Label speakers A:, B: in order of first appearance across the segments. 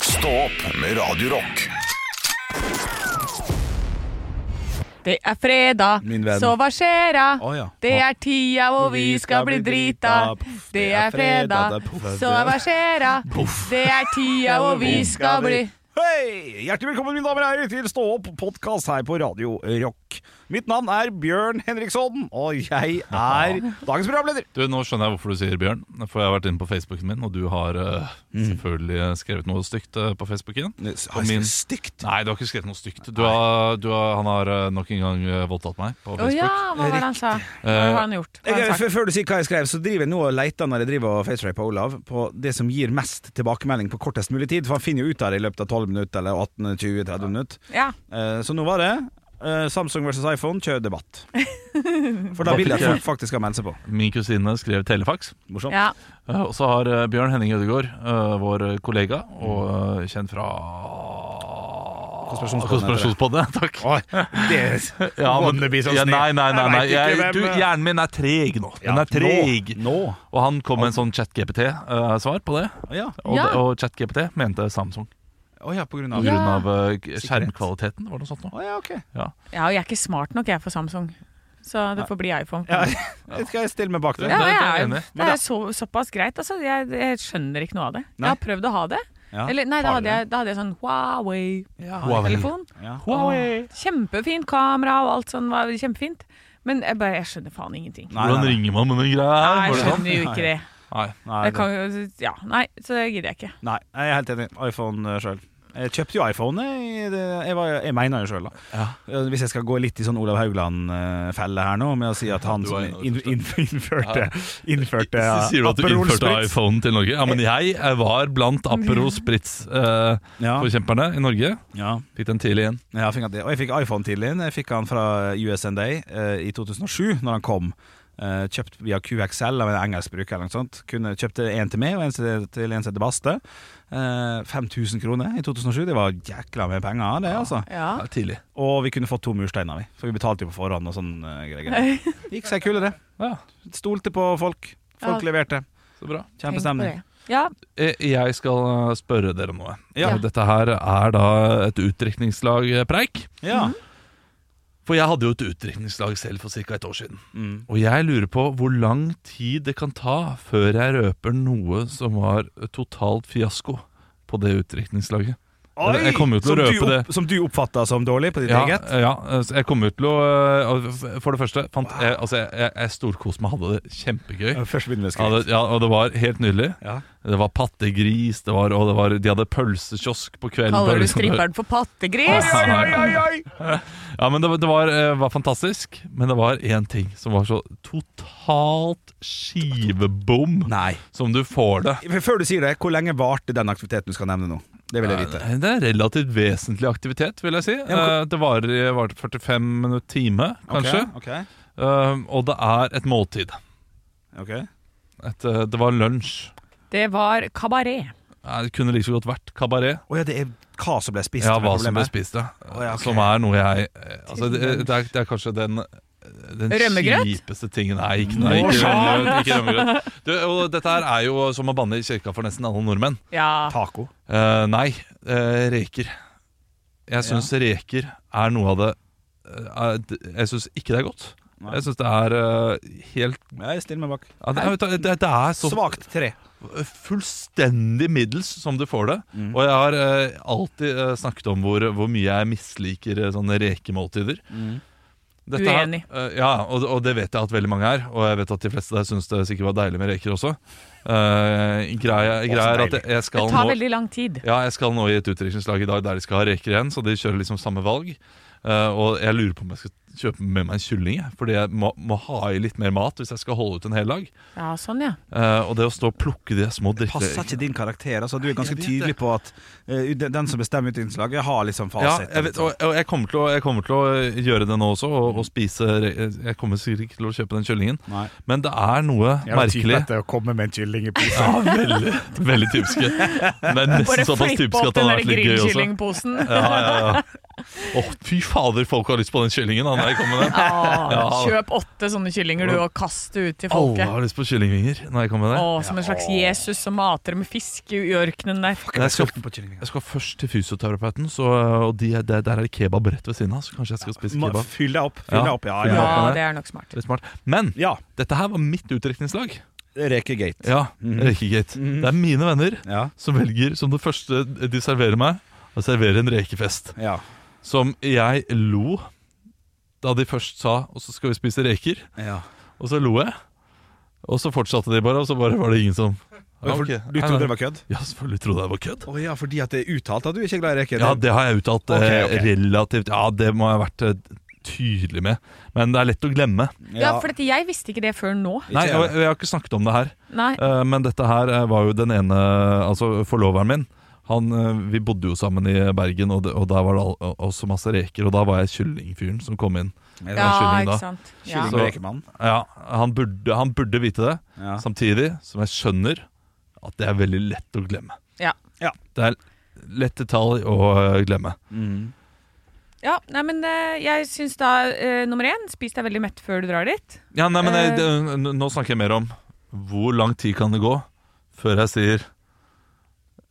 A: Stå opp med Radio Rock.
B: Det er fredag,
C: Min venn.
B: så hva skjer'a?
C: Å, ja.
B: Det er tida hvor vi skal bli drita.
C: Poff,
B: Det er fredag,
C: det er poff.
B: så hva skjer'a? Det er tida hvor vi skal bli
C: Hei! Hjertelig velkommen mine damer og herrer til Stå opp podkast her på Radio Rock. Mitt navn er Bjørn Henriksson, og jeg er dagens programleder.
D: Du, Nå skjønner jeg hvorfor du sier Bjørn. For jeg har vært inne på Facebooken min, og du har eh,
C: Mm.
D: selvfølgelig skrevet noe stygt eh, på Facebooken.
C: Har jeg
D: min-
C: skrevet stygt?
D: Nei, du har ikke skrevet noe stygt. Du har, du har, han har eh, nok en gang eh, voldtatt meg på
B: Å ja,
D: Facebook.
B: hva var det han sa? Hva
D: Eh,
B: har han gjort? Hva har
C: Jeg,
B: han sagt?
C: f- før du sier hva jeg skrev, så driver jeg nå og leter når jeg driver og facetraper Olav, på det som gir mest tilbakemelding på kortest mulig tid. For han finner jo ut av det i løpet av 12 minutter, eller 18-20-30 minutter.
B: Ja.
C: Eh, Så nå var det eh, Samsung versus iPhone, kjør debatt. For da vil jeg at folk faktisk skal melde seg på.
D: Min kusine skrev telefax.
C: Morsomt.
B: ja.
D: Eh, og så har eh, Bjørn Henning Ødegaard, eh, vår kollega og eh, kjent fra
C: Konspirasjonspodden heter det.
D: Konspirasjonspodden. Takk.
C: Oi, det
D: Ja, men-
C: Wannabe som
D: ja,
C: snill.
D: nei, nei, nei, nei.
C: sånn Jeg vet
D: Jeg,
C: ikke hvem- eh.
D: du, hjernen min er treg nå. Den
C: Ja,
D: er treg.
C: Nå, nå.
D: Og han kom med en sånn chat-GPT-svar på det.
C: Ja.
D: Og,
B: Ja.
D: og ChatGPT mente Samsung.
C: Å ja, på grunn
D: På
C: av
B: Ja.
D: grunn av eh, skjermkvaliteten, var det noe sånt nå?
C: Å ja, ok.
B: ja, og jeg er ikke smart nok, jeg, for Samsung. Så det får bli iPhone.
C: Ja, jeg skal jeg stille meg bak det.
B: Ja,
D: Det- det
B: jeg
D: er jeg
B: er,
D: enig i.
B: det er så, såpass greit. Altså, jeg, jeg skjønner ikke noe av det.
C: Nei.
B: Jeg har prøvd å ha det.
C: Ja.
B: Eller, nei, da hadde, jeg, da hadde jeg sånn Huawei-telefon.
C: Ja,
D: Huawei.
C: ja.
B: Kjempefint kamera og alt sånn var kjempefint. Men jeg, bare, jeg skjønner faen ingenting.
C: Nei,
D: Hvordan
C: nei, nei.
D: ringer man med den greia her?
B: Nei,
D: Var
B: jeg
D: det sånn?
B: skjønner jo ikke det.
D: Nei.
C: Nei,
B: Jeg kan, jo- ja, nei, så det gidder jeg ikke.
C: Nei, jeg er helt enig. iPhone sjøl. Jeg kjøpte jo iPhone. Jeg, det- jeg, var, jeg mener jo sjøl, da. Eh, Hvis jeg skal gå litt i sånn Olav Haugland-felle her nå, med å si at han
D: Du
C: som
D: var
C: in,
D: inne på
C: in,
D: det
C: innførte Innførte
D: Så sier du at du
C: Aperol
D: innførte
C: Spritz.
D: iPhone til Norge? Ja, men jeg eh, var blant Apero Spritz-forkjemperne
C: Ja,
D: i Norge.
C: ja.
D: Fikk den tidlig igjen.
C: Ja, jeg fikk han til. Og jeg fikk iPhone tidlig inn. Jeg fikk han fra US and Day eh, i 2007, når han kom. Eh, kjøpt via QXL av en engelsk bruker eller noe sånt. Kunne, kjøpte en til meg og en til, til en til Baste. Eh, 5000 kroner i 2007. Det var jækla mye penger, det, altså.
B: Ja.
D: Ja, tidlig.
C: Og vi kunne fått to mursteiner, vi. For vi betalte jo på forhånd og sånn eh, greier. Gikk seg kule, det.
D: Ja,
C: Stolte på folk. Folk
B: Ja.
C: leverte.
D: så bra.
B: tenk på
C: Kjempestemning.
B: det. Ja,
D: Eh, Jeg skal eh, spørre dere om noe.
C: Ja.
D: Og Dette her er da et utdrikningslag eh, preik.
C: Ja.
D: For jeg hadde jo et utdrikningslag selv for ca. et år siden.
C: Mm.
D: Og jeg lurer på hvor lang tid det kan ta før jeg røper noe som var totalt fiasko på det utdrikningslaget. Jeg kommer jo til å
C: som, du
D: røpe det.
C: som du oppfatta som dårlig på ditt
D: Ja,
C: eget?
D: ja, så jeg kom ut til å øh, For det første fant jeg, altså, jeg, jeg, jeg storkoste meg, hadde det kjempegøy.
C: Først begynner vi å
D: Ja, det,
C: skrive.
D: ja, og det var helt nydelig.
C: Ja.
D: Det var pattegris, det var, og det var, de hadde pølsekiosk på kvelden. Det var
B: kaller du
D: liksom-
B: stripperen for pattegris?
D: Ja, men det, var- det var, eh, var fantastisk. Men det var én ting som var så totalt skivebom
C: Nei.
D: som du får det.
C: F- Før du sier det, hvor lenge varte den aktiviteten du skal nevne nå? Det vil jeg vite.
D: Nei, Det er relativt vesentlig aktivitet, vil jeg si.
C: men hvor-
D: Eh, Det varer var 45 minutter, time kanskje.
C: Ok,
D: Eh, Og det er et måltid.
C: ok, ok.
D: Et, eh, det var lunsj.
B: Det var kabaret.
D: Nei, Det kunne like så godt vært kabaret.
C: Å ja, det er hva som ble spist.
D: Ja,
C: som er
D: hva som ble
C: problemet.
D: spist, ja.
C: Å, ja, ok.
D: Som er noe jeg eh, altså, det, det, er, det er kanskje den eh, den
B: Rømmegrøt?
D: kjipeste tingen Nei, ikke, nei, ikke
C: Morsan!
D: rømmegrøt. Ikke rømmegrøt. Du, og dette her er jo som å banne i kirka for nesten alle nordmenn.
B: Ja.
C: Taco.
D: Eh, nei, eh, reker. Jeg syns reker er noe av det eh, er, Jeg syns ikke det er godt.
C: Nei.
D: Jeg syns det er eh, helt
C: Ja, jeg stiller meg bak.
D: ja, det, vet du, det, det er så
C: Svakt tre.
D: fullstendig middels som du får det.
C: Mm.
D: Og jeg har eh, alltid eh, snakket om hvor, hvor mye jeg misliker eh, sånne rekemåltider.
C: Mm.
D: Dette her-
B: Uenig.
D: eh, ja, og, og det vet jeg at veldig mange er. Og jeg vet at de fleste der syns det sikkert var deilig med reker også. Eh, greia,
C: Å, så
D: greia
C: deilig.
D: er at jeg- jeg
B: Det
D: skal
B: tar
D: nå
B: veldig lang tid.
D: ja, jeg skal nå i et utdrikningslag i dag der de skal ha reker igjen, så de kjører liksom samme valg. Eh, og jeg lurer på om jeg skal kjøpe med meg en kylling, jeg, fordi jeg må, må ha i litt mer mat hvis jeg skal holde ut en hel dag.
B: Ja, sånn, ja.
D: Eh, og det å stå og plukke de små dritte...
C: Passer ikke din karakter. Altså, du er ganske
D: Jeg vet
C: tydelig
D: det.
C: på at eh, den den som bestemmer utdrikningslaget, har liksom
D: Ja,
C: fasit.
D: jeg vet, og, og jeg, kommer til å, jeg kommer til å gjøre det nå også, og, og spise re- eh, Jeg kommer sikkert ikke til å kjøpe den kyllingen,
C: Nei.
D: men det er noe merkelig.
C: å komme med en kylling i pose.
D: Ja, veldig, veldig typisk. Det er
B: Bare
D: nesten såpass
B: flippe
D: typisk
B: opp
D: at det
B: den
D: har
B: der
D: vært litt gøy også.
B: grillkyllingposen.
D: Ja, ja, ja. Å, fy fader, folk har lyst på den kyllingen! Han der kom med den.
B: Ah,
D: Ja.
B: kjøp åtte sånne kyllinger du, og kast det ut til
D: Alle
B: folket.
D: har lyst på kyllingvinger. Når jeg kom med det.
B: Å, som en slags Jesus som mater med fisk i ørkenen der.
D: Jeg skal,
C: Sulten på kyllingen.
D: jeg skal først til fysioterapeuten, så, og de, der, der er det kebab rett ved siden av. Så kanskje jeg skal spise
C: Ma-
D: kebab.
C: Fyll deg opp. Fyll
D: Ja.
C: deg opp, ja,
D: Fyll
C: ja.
D: deg
B: Ja, det er nok smart.
D: Det er smart. Men
C: ja.
D: dette her var mitt utdrikningslag.
C: Rekegate.
D: Ja,
C: Mhm.
D: rekegate. Det er mine venner
C: Ja.
D: som velger, som det første de serverer meg, å servere en rekefest.
C: Ja.
D: Som jeg lo da de først sa Og så skal vi spise reker.
C: ja.
D: Og så lo jeg. Og så fortsatte de bare, og så bare var det ingen som Ja,
C: For,
D: ok.
C: Du
D: Nei,
C: trodde
D: nei.
C: det var kødd?
D: Ja, selvfølgelig trodde jeg det var kødd.
C: Å ja, fordi at det er uttalt at du ikke er glad i reker?
D: Ja, det har jeg uttalt eh,
C: Ok, ok.
D: relativt Ja, det må jeg ha vært eh, tydelig med. Men det er lett å glemme.
B: Ja, for dette, jeg visste ikke det før nå.
C: Ikke
D: Nei,
C: jeg.
D: og jeg, jeg har ikke snakket om det her.
B: Nei.
D: Eh, Men dette her eh, var jo den ene Altså forloveren min han, eh, Vi bodde jo sammen i Bergen Og, det, og der var det al- også masse reker Og da var jeg kyllingfyren som kom inn
C: Ja,
B: Ja,
D: kylling, da.
B: ikke sant. Ja.
C: Kylling og rekemann.
D: ja, han, burde, han burde vite det
C: Ja.
D: Samtidig som jeg skjønner At det er veldig lett å glemme
B: Ja.
C: Ja.
D: Det er lett detalj å eh, glemme
C: Mm.
B: Ja, nei, men eh, jeg syns da eh, nummer én spis deg veldig mett før du drar dit.
D: Ja, nei, men jeg,
B: Eh.
D: det, n- nå snakker jeg mer om Hvor lang tid kan det gå Før jeg sier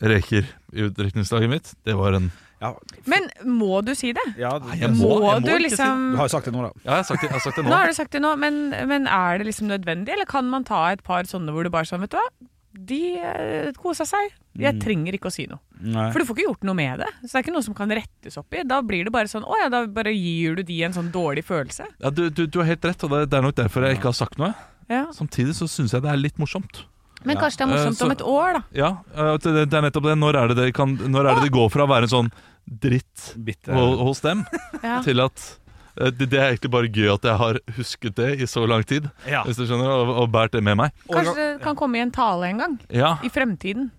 D: Reker i utdrikningslaget mitt Det var en
C: Ja.
B: Men må du si det?
C: Ja, du,
D: Nei,
C: du
D: jeg må-
B: du
D: jeg må ikke si det.
B: liksom
C: har jo sagt det nå, da.
D: Ja, jeg har sagt det, jeg har sagt det
B: Nå har du sagt det nå, men, men er det liksom nødvendig? Eller kan man ta et par sånne hvor du bare sånn, vet du hva? De eh, kosa seg. Jeg
D: Mm.
B: trenger ikke å si noe.
C: Mm. Nei.
B: For du får ikke gjort noe med det. Så det er ikke noe som kan rettes opp i. Da blir det bare sånn Å ja, da bare gir du de en sånn dårlig følelse.
D: Ja, du, du, du har helt rett, og det, det er nok derfor jeg ikke har sagt noe.
B: Ja.
D: Samtidig så syns jeg det er litt morsomt.
B: Men
C: Ja.
B: kanskje det er morsomt
D: Eh, så-
B: om et år, da.
D: Ja, eh, at det, det er nettopp det. Når er det det, kan, når er det, det går fra å være en sånn dritt
C: Bitte.
D: ho- hos dem,
B: Ja.
D: til at eh, det, det er egentlig bare gøy at jeg har husket det i så lang tid,
C: Ja.
D: hvis du skjønner, og, og båret det med meg.
B: Kanskje det kan komme i en tale en gang.
D: Ja,
B: I fremtiden.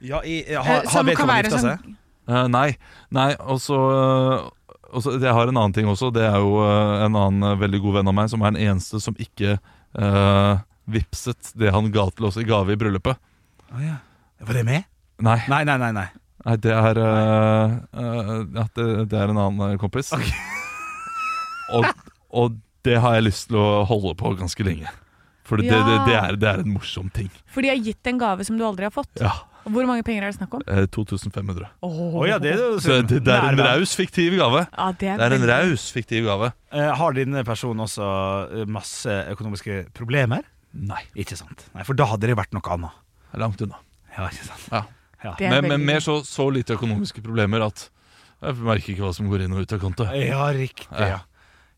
C: Ja, i,
B: Eh,
C: har, har
B: som kan
C: vedkommende
B: være
C: gifta
B: sånn-
C: seg?
D: Eh, nei. Nei, og så eh, og så- Jeg har en annen ting også. Det er jo eh, en annen eh, veldig god venn av meg som er den eneste som ikke uh, vipset det han ga til oss i gave i bryllupet.
B: sånn-
C: Å, ja. Var det med?
D: Nei.
C: Nei, nei, nei. nei.
D: Nei, det er øh, øh, ja, det, det er en annen øh, kompis. og, og det har jeg lyst til å holde på ganske lenge. For det, det, det,
B: Ja.
D: er, det er en morsom ting.
B: For de har gitt en gave som du aldri har fått.
D: Ja,
B: Hvor mange penger er det snakk om?
D: eh, 2500.
C: Å ja, det er jo
D: Så det, det er en
C: Nærvær.
D: raus fiktiv gave.
B: Ja, det er,
D: Det er en
B: veldig-
D: raus fiktiv gave.
C: Eh, Har denne personen også eh, masse økonomiske problemer?
D: Nei,
C: Ikke sant. Nei, For da hadde det vært noe annet.
D: det er langt unna.
C: Ja, ikke sant.
D: Ja.
C: Ja.
B: Det er
D: Men,
B: veldig
D: men
B: gøy.
D: mer så, så lite økonomiske problemer at jeg merker ikke hva som går inn og ut av konto.
C: Ja, riktig. Ja.
D: Ja.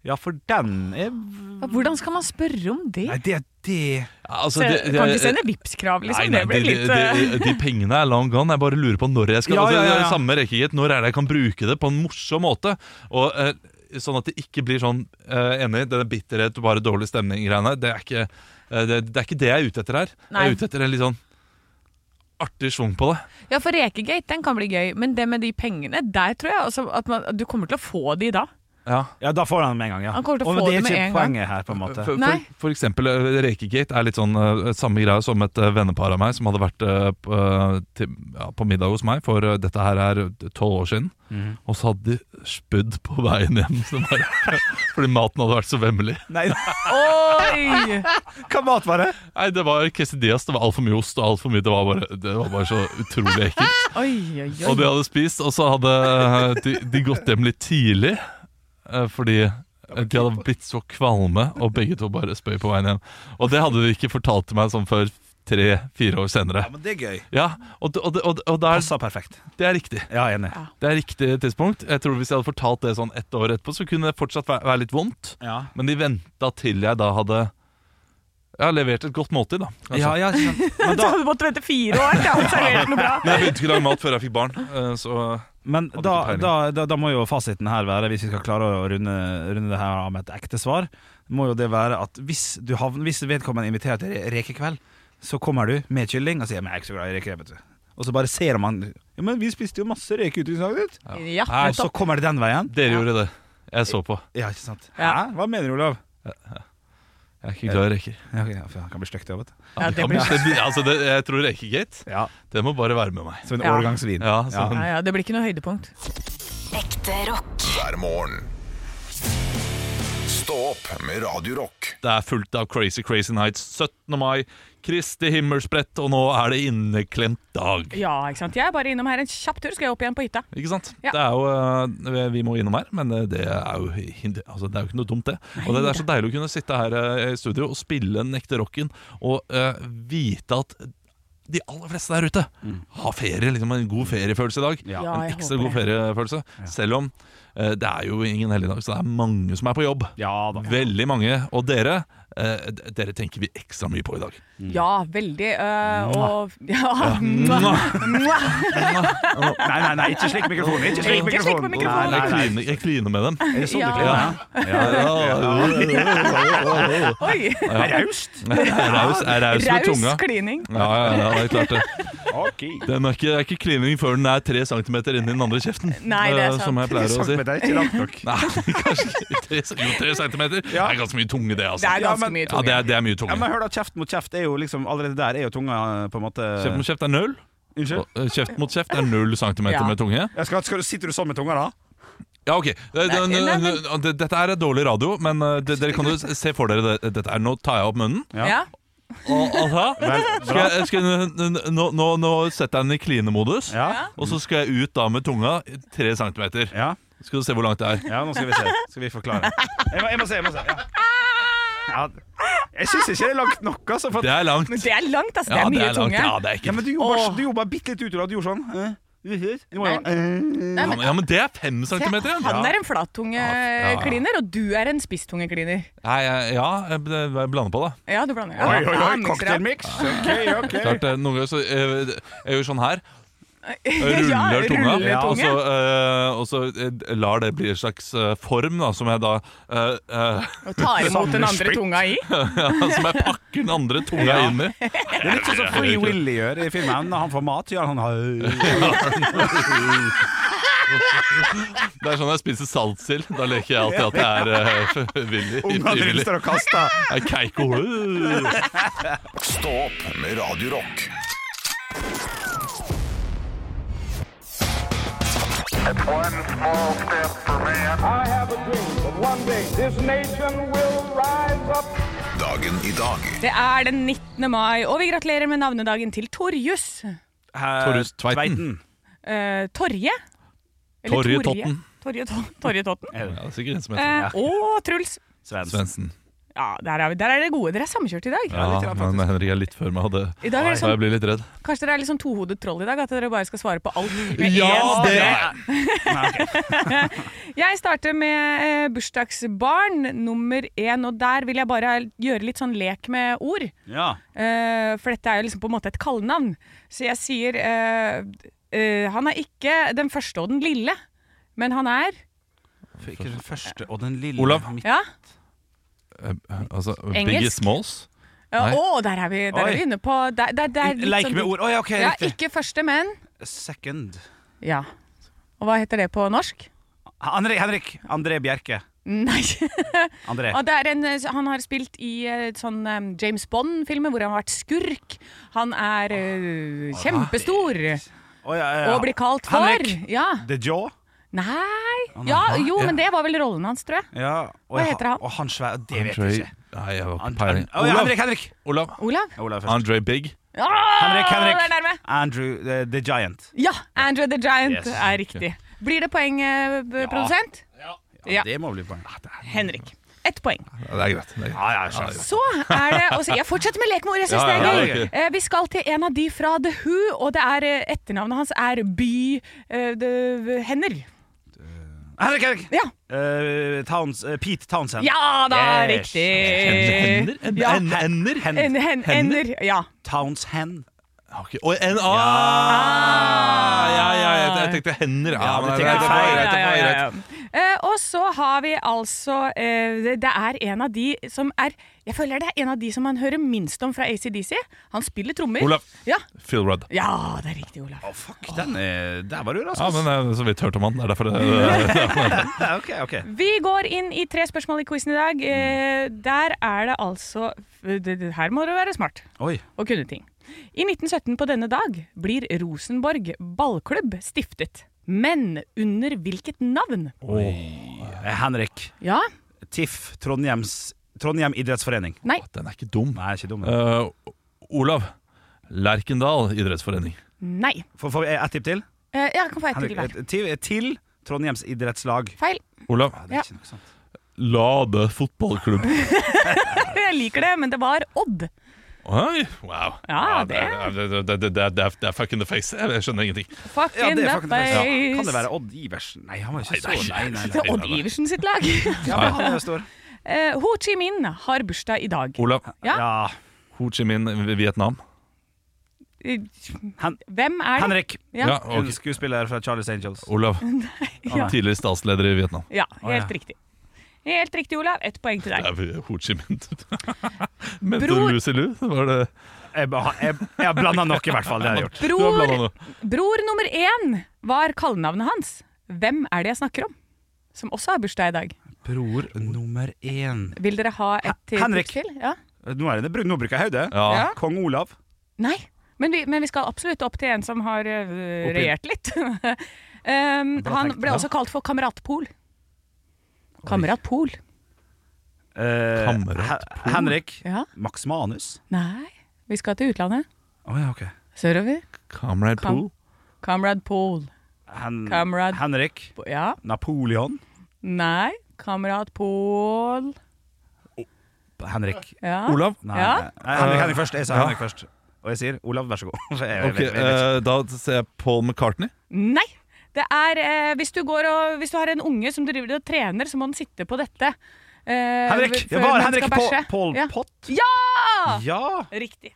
C: ja, for den er
B: Ja, Hvordan skal man spørre om det?
C: Nei, det er det
D: Altså,
B: Se,
D: det- det-
B: kan ikke sende Vipps-krav, liksom. det blir
D: de,
B: litt
D: de,
B: eh,
D: de, de pengene er long gone. Jeg bare lurer på når jeg skal
C: Ja,
D: altså,
C: ja, ja, ja.
D: det er Samme rekkegitt, Når er det jeg kan bruke det på en morsom måte? Og eh, Sånn at det ikke blir sånn eh, Enig, det er bitterhet og bare dårlig stemning-greiene. Det, er ikke, eh, det, det er ikke det jeg er ute etter her.
B: Nei.
D: Jeg er ute etter en litt sånn artig schwung på det.
B: Ja, for rekegate, den kan bli gøy. Men det med de pengene, der tror jeg også at man, du kommer til å få de da.
D: Ja.
C: Ja, da får han den med en gang, ja.
B: Han kommer til å
C: Og
B: få
C: det er
B: det med
C: ikke
B: en gang.
C: poenget her, på en måte.
D: For, for,
B: Nei.
D: for eksempel eh, Rekegate er litt sånn eh, samme greie som et eh, vennepar av meg som hadde vært eh, p- eh, til, ja, på middag hos meg, for eh, dette her er tolv år siden.
C: Mhm.
D: Og så hadde de spydd på veien hjem som bare, fordi maten hadde vært så vemmelig.
C: Nei,
B: Oi!
C: hva mat var det?
D: Nei, det var quesadillas, det var altfor mye ost og altfor mye. Det var, bare, det var bare så utrolig ekkelt.
B: Oi, oi, oi.
D: Og de hadde spist, og så hadde eh, de, de gått hjem litt tidlig eh, fordi eh, de hadde blitt så kvalme, og begge to bare spøy på veien hjem. Og det hadde de ikke fortalt til meg sånn før tre-fire år senere.
C: Ja, men Det er gøy.
D: Ja, og, d- og, d- og, d- og det, er,
C: Passa perfekt.
D: det er riktig.
C: Ja, enig.
D: Det er riktig tidspunkt. Jeg tror Hvis jeg hadde fortalt det sånn ett år etterpå, så kunne det fortsatt væ- være litt vondt.
C: Ja,
D: Men de venta til jeg da hadde ja, levert et godt måltid, da. Altså. kanskje.
C: ja, ja ikke sant. men,
B: Du
C: da,
B: hadde måttet vente fire år til han serverte noe bra.
D: Men jeg begynte ikke å lage mat før jeg fikk barn. eh, Så
C: men
D: ikke
C: da,
D: peiling.
C: da, da, da må jo fasiten her være, hvis vi skal klare å runde, runde det her av med et ekte svar, må jo det være at hvis, du havner, hvis vedkommende inviterer til re- rekekveld, så kommer du med kylling og sier 'Men jeg er ikke så glad i reker', vet du. Og så bare ser man ja, 'Men vi spiste jo masse reke ute i Sagnet'.
B: Ja,
D: Nei,
C: Og så kommer det den veien.
D: dere gjorde det. Jeg så på.
C: Ja, ikke sant.
B: Ja.
C: Hæ? Hva mener du, Olav?
D: Jeg er ikke glad i reker.
C: Ja, ok, ja, for det kan bli stygt, det òg, vet du.
B: Ja,
D: det
B: det
D: kan
B: blir-
D: bli- det blir- altså, det, jeg tror rekegate
C: Ja,
D: Det må bare være med meg.
C: Som en
B: Ja.
C: årgangsvin.
D: Ja, så,
B: ja, ja, det blir ikke noe høydepunkt.
E: Ekte rock.
A: hver morgen. Stå opp med Radio Rock.
D: Det er fullt av Crazy Crazy Nights 17. mai, Kristi himmelsbrett, og nå er det inneklemt dag.
B: Ja, ikke sant. Jeg er bare innom her en kjapp tur, skal jeg opp igjen på hytta.
D: Ikke sant?
B: Ja.
D: Det er jo, eh, vi må innom her, men eh, det er jo, hin- altså, det er jo ikke noe dumt, det. Og det, det er så deilig å kunne sitte her eh, i studio og spille den ekte rocken og eh, vite at de aller fleste der ute har ferie. liksom En god feriefølelse i dag.
C: Ja.
B: Ja, jeg
D: en
B: håper
D: ekstra god
B: det.
D: feriefølelse. Selv om eh, det er jo ingen helligdag, så det er mange som er på jobb.
C: Ja da.
D: Veldig mange. Og dere, eh, d- dere tenker vi ekstra mye på i dag.
B: Ja, veldig. øh, og ja,
C: Nei, nei, nei, ikke slik mikrofon. Ikke slik
B: Ikke slik på
C: mikrofon.
B: mikrofonen.
C: Nei, nei,
D: Jeg
C: nei.
D: kliner, jeg kliner med dem.
C: Er det sånn du
B: Ja.
C: kliner? Ja.
B: Oi!
C: Ja. Raust.
D: Raus er raus med
B: Raus
D: tunga.
B: klining.
D: Ja, ja, ja, det er klart det.
C: Ok.
D: Den er ikke, er ikke klining før den er tre centimeter inni den andre kjeften.
B: Nei, det er
D: eh,
B: sant.
D: Som jeg pleier å si.
C: Centimeter er ikke langt nok.
D: Nei, kanskje ikke tre, jo, tre centimeter. Det er ganske mye tunge, det,
B: Det
D: altså.
B: er
C: Ja,
B: ganske
C: men-
B: mye
D: Ja, det
B: tunge.
D: er, det er mye
C: Ja,
D: tunge.
C: men hør da, Kjeft mot kjeft er jo liksom Allerede der er jo tunga på en måte
D: Kjeft mot kjeft er null.
C: Unnskyld?
D: og, eh, Kjeft mot kjeft er null centimeter
B: Ja.
D: med tunge.
C: Jeg skal, skal du, sitter du sånn med tunga, da?
D: Ja, ok. Eh, den-
B: nei,
D: den-
B: men-
D: den- Dette er dårlig radio, men eh, de- dere kan jo se for dere det- dette. her. Nå tar jeg opp munnen.
B: Ja.
D: Og, og så-
C: Vel,
D: skal jeg, skal, jeg- nå, nå, nå setter jeg den i klinemodus.
C: Ja.
D: Og så skal jeg ut da med tunga tre centimeter.
C: ja.
D: Skal du se hvor langt det er.
C: Ja, nå skal vi se. Skal vi forklare. Jeg må, jeg må se, jeg må se. Ja. Ja. Jeg syns ikke det er langt nok, altså. For
D: Det
C: at,
D: er langt.
B: Men det er langt, ass. Det
D: Ja,
B: er mye
D: langt.
B: tunge.
D: Ja, det er
C: ja,
D: ekkelt.
C: men du gjorde bare, du gjorde bare bitte litt ut i det. Du gjorde sånn. eh, du må jo- eh.
D: Ja, men, ja, men det er fem centimeter igjen.
B: Han
D: Ja.
B: er en
D: Ja, ja.
B: flattungekliner, og du er en spissungekliner.
D: Nei, jeg- ja, jeg bl- jeg blander på, da.
B: Ja, du blander. Ja,
C: Oi, oi,
B: ja,
C: oi.
B: mikser opp.
C: Cocktailmix. Ok, ok.
D: Klart, eh, noen ganger så eh, Jeg gjør sånn her. Jeg Ruller
B: Ja,
D: tunga,
B: ruller
D: og
B: tunge.
D: så, eh, og så eh, lar det bli en slags eh, form da, som jeg da eh, eh,
B: Og tar imot den andre
C: Samlespytt.
B: tunga i.
D: Som jeg pakker den andre tunga
C: Ja.
D: inn i.
C: Det er litt sånn som Free Willy gjør i filmen. Når han får mat, gjør han sånn,
D: Det er sånn jeg spiser saltsild. Da leker jeg alltid at jeg er eh, villig.
C: Ungene
D: frivillig.
C: drister og kaster.
D: Jeg er Keiko.
A: Stå opp med Radio Rock.
E: One small step for man.
F: I have a dream that one day this nation will rise up.
A: Dagen i dag.
B: Det er den 19. mai, og vi gratulerer med navnedagen til Torjus.
D: Torjus Tveiten.
B: Eh, Torje. Eller
D: Torje
B: Torje.
D: Totten.
B: Torje To- Torje Totten.
D: Ja, det er sikkert en som heter
B: Eh, og Truls.
C: Svendsen.
D: Altså, Svendsen.
B: Ja, der er, vi, der er det gode. Dere er samkjørt i dag.
D: Ja, men Henrik er litt før meg, og det
B: I dag er det
D: da
B: sånn,
D: jeg blir litt redd.
B: kanskje dere er litt sånn tohodet troll i dag, at dere bare skal svare på alt. med
D: Ja,
B: én
D: det
B: stemme.
D: er
B: Jeg starter med eh, bursdagsbarn nummer én, og der vil jeg bare gjøre litt sånn lek med ord.
C: Ja.
B: Eh, for dette er jo liksom på en måte et kallenavn. Så jeg sier eh, eh, Han er ikke den første og den lille, men han er
C: Ikke den første og den lille.
D: Olav.
B: Ja.
D: Eh, Altså,
B: Engelsk.
D: Biggie Smalls.
B: Å,
D: Nei.
B: der er vi, der
C: Oi.
B: er vi inne på der, der, der, er litt
C: Leike
B: sånn-
C: med ord. Å ja, ok,
B: Ja,
C: riktig.
B: ikke første, men
C: Second.
B: Ja. Og hva heter det på norsk?
C: Henrik, Henrik. André Bjerke.
B: Nei.
C: André.
B: Og det er en, eh, han har spilt i eh, sånn eh, James Bond-filmer hvor han har vært skurk. Han er eh, kjempestor
C: Å, ja, ja, ja.
B: og blir kalt for
C: Henrik.
B: Ja.
C: The Jaw.
B: Nei ja, Jo, men det var vel rollen hans, tror jeg.
C: Ja. og
B: Hva
C: jeg-
B: heter han?
C: Og han svær. Det vet
D: Andre-
C: jeg ikke.
D: Nei, jeg har ikke
C: And-
D: peiling.
C: and- Å, ja, Henrik, Henrik.
D: Olav.
B: Olav?
C: Olav først.
D: Andre Big.
B: Ja,
C: Henrik, Henrik.
B: Det er nærme.
C: Andrew the, the Giant.
B: Ja, Andrew the Giant
C: Yes.
B: er riktig. Blir det poeng, eh, b- produsent? Ja.
C: Det må bli poeng.
B: Henrik. Ett poeng.
D: Ja, det er greit. Det er greit.
C: Ja, ja, skjønner.
B: Så er det og så- Jeg fortsetter med lekmor, jeg syns
D: Ja, ja,
B: det
C: ja,
B: er gøy.
D: ok.
B: Eh, Vi skal til en av de fra The Who, og det er eh, etternavnet hans er By eh, de- Henner.
C: Henrik, Henrik.
B: Ja.
C: Eh, Towns, eh, Pete Townsend.
B: Ja da,
C: Yes.
B: riktig! Ja.
D: Ender? Hen-
B: En, hen,
D: Hender?
B: ender. Ja.
C: Townsend.
D: Ja, ok. Og en ah! Ja, ja, jeg, jeg tenkte hender. Ja,
C: Ja,
D: men
C: du
D: det er
C: tenkte
D: greit,
C: feil,
D: det er greit, det er greit.
B: Eh, og så har vi altså eh, det- Det er en av de som er Jeg føler det er en av de som man hører minst om fra ACDC. Han spiller trommer.
D: Olav.
B: Ja.
D: Phil Rudd.
B: ja, det er riktig, Olav.
C: Å, fuck, den er, der var du rask.
D: Ja, men jeg har så vidt hørt om han. Det er derfor det
C: Ja, ok, ok.
B: Vi går inn i tre spørsmål i quizen i dag. Eh,
D: Mm.
B: der er det altså det, det, Her må du være smart
C: Oi.
B: og kunne ting. I 1917 på denne dag blir Rosenborg ballklubb stiftet.
G: Men under hvilket navn?
C: Eh, Henrik.
G: Ja,
C: TIFF, Trondheims, Trondheim idrettsforening.
G: nei,
D: Den er ikke dum.
C: Nei, ikke dum.
D: Eh, Olav. Lerkendal idrettsforening.
G: nei.
C: Får får jeg ett tipp til?
G: Eh, jeg kan få et til
C: Henrik,
G: hver.
C: eh, til, til Trondheims idrettslag.
G: Feil.
D: Olav.
C: Ja,
G: Ja.
C: det er ikke noe sant.
D: Lade fotballklubb.
G: Jeg liker det, men det var Odd.
D: Oi, wow.
G: Ja,
D: det, er- det, det, det, det, er- det er fuck in the face. Jeg, jeg skjønner ingenting.
G: Fuck
C: Ja,
G: in
C: det
G: the
C: er faktisk
G: face.
C: ja. Kan det være Odd Iversen? Nei, han var jo ikke
D: Nei,
C: så
D: nei,
C: Nei, nei,
G: Det er
C: nei.
G: Odd Iversen sitt lag.
C: Ja, men han er jo stor.
G: Eh, Ho Chi Minh har bursdag i dag.
D: Olav.
G: Ja.
C: Ja.
D: Ho Chi Minh, Vietnam.
G: Eh,
C: Hen
G: Hvem er det?
C: Henrik.
G: Ja.
D: Ja,
C: En
D: ok. Oh.
C: skuespiller fra Charlies Angels.
D: Olav.
G: Ja.
D: Tidligere statsleder i Vietnam.
G: Ja, helt
C: ja.
G: riktig. Helt riktig, Olav. Ett poeng til
D: Det
G: deg.
D: er Ho Chi Minh. Mente
G: Bror-
D: du Lucy Lou? Var det
C: Jeg, ba- jeg, jeg har blanda nok, i hvert fall. Det har jeg gjort.
D: Du har
G: Bror,
D: blandet nå.
G: bror nummer én var kallenavnet hans. Hvem er det jeg snakker om? Som også har bursdag i dag.
C: Bror nummer én.
G: Vil dere ha et til?
C: Henrik.
G: tips til? Ja.
C: Eh, Nå, er det, nå bruker jeg hodet.
D: Ja.
G: Ja.
C: Kong Olav.
G: Nei, men vi, men vi skal absolutt opp til en som har øh, regjert litt. um,
C: Bra
G: han
C: tenkt.
G: ble
C: Ja.
G: også kalt for Kamerat Pol. Kamerat Pol.
C: Eh,
D: Kamerat
C: He- Henrik.
G: Ja.
C: Max Manus.
G: Nei, vi skal til utlandet.
C: Å ja, ok.
G: Sørover.
D: Comrade
G: Kam-
D: Pooh?
G: Kamerat Pol.
C: Hen
G: Kamerad.
C: Henrik.
G: Ja.
C: Napoleon.
G: Nei. Kamerat Pol.
C: Henrik.
G: Ja.
D: Olav?
C: Nei,
G: Ja.
C: nei, Henrik, Henrik først. Jeg sa
D: Ja.
C: Henrik først. Og jeg sier Olav, vær så god. Jeg- jeg-
D: Ok,
C: jeg- jeg-
D: eh, da ser jeg Paul McCartney.
G: Nei. Det er eh, hvis, du går og, hvis du har en unge som driver og trener, så må den sitte på dette. eh,
C: Henrik!
G: før
C: Det var
G: den
C: Henrik
G: skal
C: Paul,
G: bæsje.
C: Paul
G: ja.
C: Pott.
G: Ja!
C: Ja,
G: Riktig.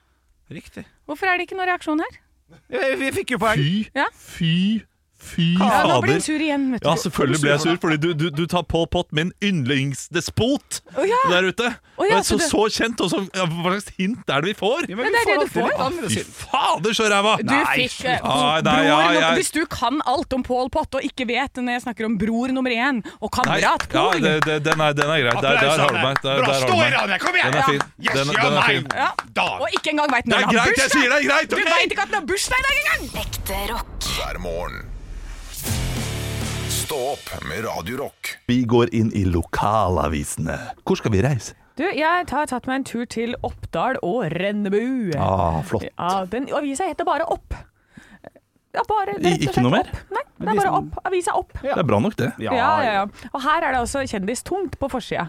C: riktig.
G: Hvorfor er det ikke noen reaksjon her?
C: Vi vi fikk jo poeng.
D: Fy,
G: Ja.
D: fy, fy
G: Ja, nå blir
D: fader.
G: hun sur igjen, vet du.
D: Ja, selvfølgelig ble jeg sur, fordi du, du, du tar Pol Pot, min yndlingsdespot,
G: Å ja.
D: der ute.
G: Å ja,
D: så,
G: så det-
D: så kjent, og så ja, Hva slags hint er det vi får?
C: Ja,
G: Ja,
C: men vi
G: det er det du
C: alltid litt
G: får.
C: andre
D: Fy
C: syn.
D: fader, så ræva!
G: Du
C: Nei,
G: fikk eh,
D: Nei, nei,
G: bror
D: ja,
G: nummer-
D: jeg-
G: Hvis du kan alt om Pål Pott og ikke vet det når jeg snakker om bror nummer én og kamerat
D: ja,
G: Pål
D: det, det, den, er, den er grei. Der, der har du meg. Der,
A: Bra,
D: der har
A: stå
D: du
A: i
D: meg.
A: ranet! Kom igjen!
D: Den er fin.
A: Yes,
D: Den,
A: ja,
D: den er
A: nei.
D: fin.
G: ja.
A: Dan.
G: Og ikke engang veit
D: Det
G: når
D: er
G: han har
D: greit, jeg
G: bursdag!
D: sier det er greit!
G: Du
D: ok?
G: veit ikke at han har bursdag i dag engang!
H: Ekte rock.
A: Hver morgen. Stå opp med Radio Rock.
I: Vi går inn i lokalavisene. Hvor skal vi reise?
B: Du, jeg har tatt meg en tur til Oppdal og Rennebu.
I: Ah, flott.
B: Ja, den avisa heter bare Opp. Ja,
I: I-
B: bare, rett og
I: ikke
B: slett
I: noe mer?
B: Opp. Nei, det er bare Opp. Avisa Opp. Ja.
I: Det er bra nok, det.
B: Ja, ja, Og her er det også kjendistungt på forsida.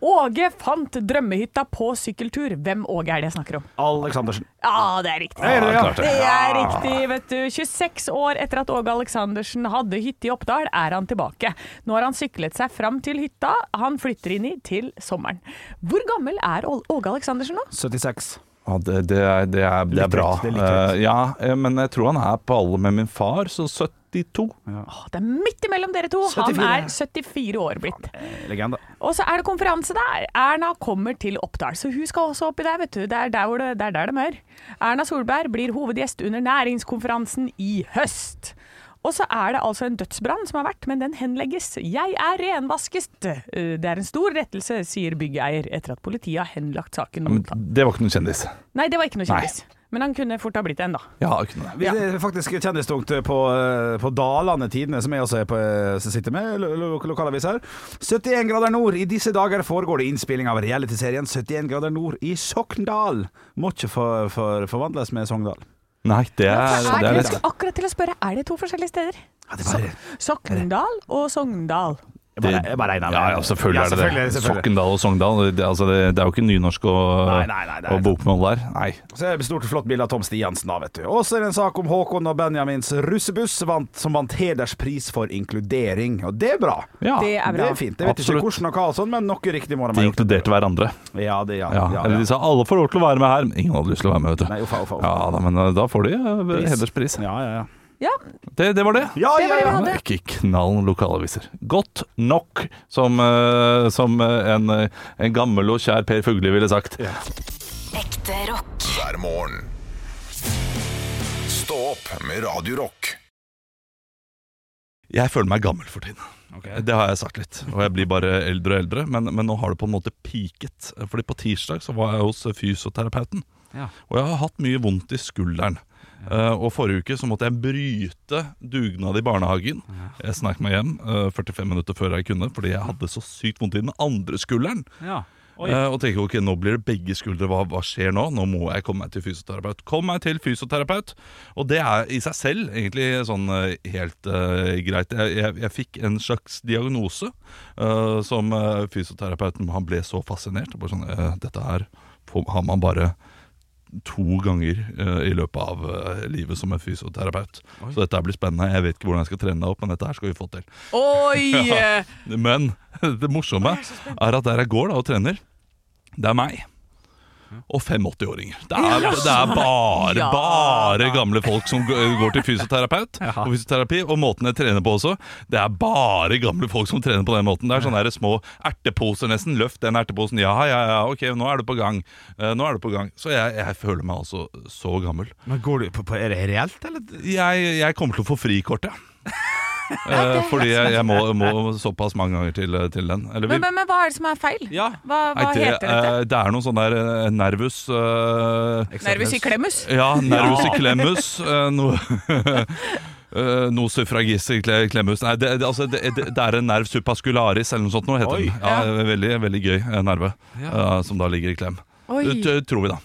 B: Åge fant drømmehytta på sykkeltur. Hvem Åge er det jeg snakker om?
C: Aleksandersen.
B: Ja, det er riktig.
C: det, ja.
B: Det er riktig, vet du. 26 år etter at Åge Aleksandersen hadde hytte i Oppdal, er han tilbake. Nå har han syklet seg fram til hytta han flytter inn i til sommeren. Hvor gammel er Ål- Åge Aleksandersen nå?
C: 76.
I: Ja, det, det, er, det, er, det
C: Litt
I: er bra.
C: høyt, det er litt høyt.
I: Eh, ja, eh, men jeg tror han er på alle med min far, så 72.
B: Å, Det er midt imellom dere to. Han
C: 74.
B: er 74 år blitt.
C: Legende.
B: Og så er det konferanse der. Erna kommer til Oppdal, så hun skal også oppi der, vet du. Det er der, hvor det, det, er der det mør. Erna Solberg blir hovedgjest under næringskonferansen i høst. Og så er det altså en dødsbrann som har vært, men den henlegges. Jeg er renvasket. Eh, Det er en stor rettelse, sier byggeier etter at politiet har henlagt saken.
I: Men
B: Mot ham.
I: det var ikke noen kjendis.
B: Nei, det var ikke noe kjendis. Men han kunne fort ha blitt en, da.
I: Ja, ikke noe.
C: Vi er faktisk kjendistungt på, eh, på Dalane Tidene, som jeg også er på, eh, som sitter med, lo lo lokalavis her. 71 grader nord. I disse dager foregår det innspilling av realityserien 71 grader nord i Sokndal. Må ikke for, for, forvandles med Sogndal.
I: Nei, det er,
B: Så
I: det
B: er
I: er
B: det, jeg
I: litt
B: skulle akkurat til å spørre, er det to forskjellige steder?
C: Ja, det var,
B: Sokndal og Sogndal.
C: jeg bare, jeg bare regner med
I: Ja, ja, selvfølgelig
C: Ja,
I: er det det.
C: selvfølgelig.
I: Sokndal og Sogndal, det, altså det, det er jo ikke nynorsk og,
C: Nei, nei, nei, det er
I: og bokmål der. Nei.
C: Så er det et stort, flott bilde av Tom Stiansen da, vet du. Og så er det en sak om Håkon og Benjamins russebuss, vant, som vant hederspris for inkludering. Og det er bra.
I: Ja,
B: Det er
C: Det
B: bra.
C: er fint. Jeg vet
I: Absolutt.
C: ikke hvordan og hva og sånn, men noe riktig må de
I: De
C: ha gjort.
I: inkluderte hverandre.
C: Ja, det, ja,
I: Ja,
C: ja,
I: Eller
C: ja.
I: de sa alle får lov til å være med her, men ingen hadde lyst til å være med, vet
C: Nei,
I: du.
C: uffa, uffa, uffa.
I: Ja da, men eh, da får de eh, hederspris.
C: Ja, ja, ja.
B: Ja,
I: Det, det var det.
C: Ja, ja, ja.
I: Men Ikke knall lokalaviser. Godt nok, som, eh, som eh, en, eh, en gammel og kjær Per Fugli ville sagt.
H: Ekte rock.
A: Hver morgen. Stå opp med Radio Rock.
I: Jeg føler meg gammel for tiden. Det har jeg sagt litt. Og jeg blir bare eldre og eldre. Men, men nå har det på en måte peaket. Fordi på tirsdag så var jeg hos eh, fysioterapeuten.
C: Ja.
I: Og jeg har hatt mye vondt i skulderen.
D: Eh, og forrige uke så måtte jeg bryte dugnad i barnehagen. Jeg snek meg hjem eh, 45 minutter før jeg kunne, fordi jeg hadde så sykt vondt i den andre skulderen.
C: Ja. Oi.
D: Eh, og tenker ok, nå blir det begge skuldre, hva, hva skjer nå? Nå må jeg komme meg til fysioterapeut. Kom meg til fysioterapeut! Og det er i seg selv egentlig sånn eh, helt eh, greit. Jeg, jeg, jeg fikk en slags diagnose eh, som eh, fysioterapeuten Han ble så fascinert. Bare sånn, eh, dette her får- har man bare to ganger eh, i løpet av eh, livet som en fysioterapeut. Så dette her blir spennende. Jeg vet ikke hvordan jeg skal trene deg opp, men dette her skal vi få til.
J: Oi!
D: Ja. Men det morsomme er at der jeg går da og trener, det er meg. Og 85-åringer. Det, er- det er bare
J: Ja.
D: bare gamle folk som g- går til fysioterapeut og fysioterapi. Og måten jeg trener på også, det er bare gamle folk som trener på den måten. Det er sånne der små erteposer nesten. Løft den erteposen. Ja, ja, ja, ok, nå er du på gang. Eh, Nå er du på gang. Så jeg, jeg føler meg altså så gammel.
C: Men går du på, på Er det reelt, eller?
D: Jeg, jeg kommer til å få frikort, ja. Eh, fordi jeg, jeg må, må såpass mange ganger til, til den. Eller vi-
B: Men, men, men hva er det som er feil?
C: Ja.
B: Hva, hva
D: Nei, det,
B: heter dette?
D: eh, det er noe sånn der eh, nervus eh,
B: Nervus i klemmus?
D: Ja, nervus i klemmus. eh, noe eh, noe suffragis i kle- klemmus. Nei, det, det, altså, det, det, det er en nerv superscularis eller noe sånt noe heter
C: Oi.
D: den. Ja, veldig, veldig gøy eh, nerve eh, som da ligger i klem.
B: Oi.
D: Det tror vi, da.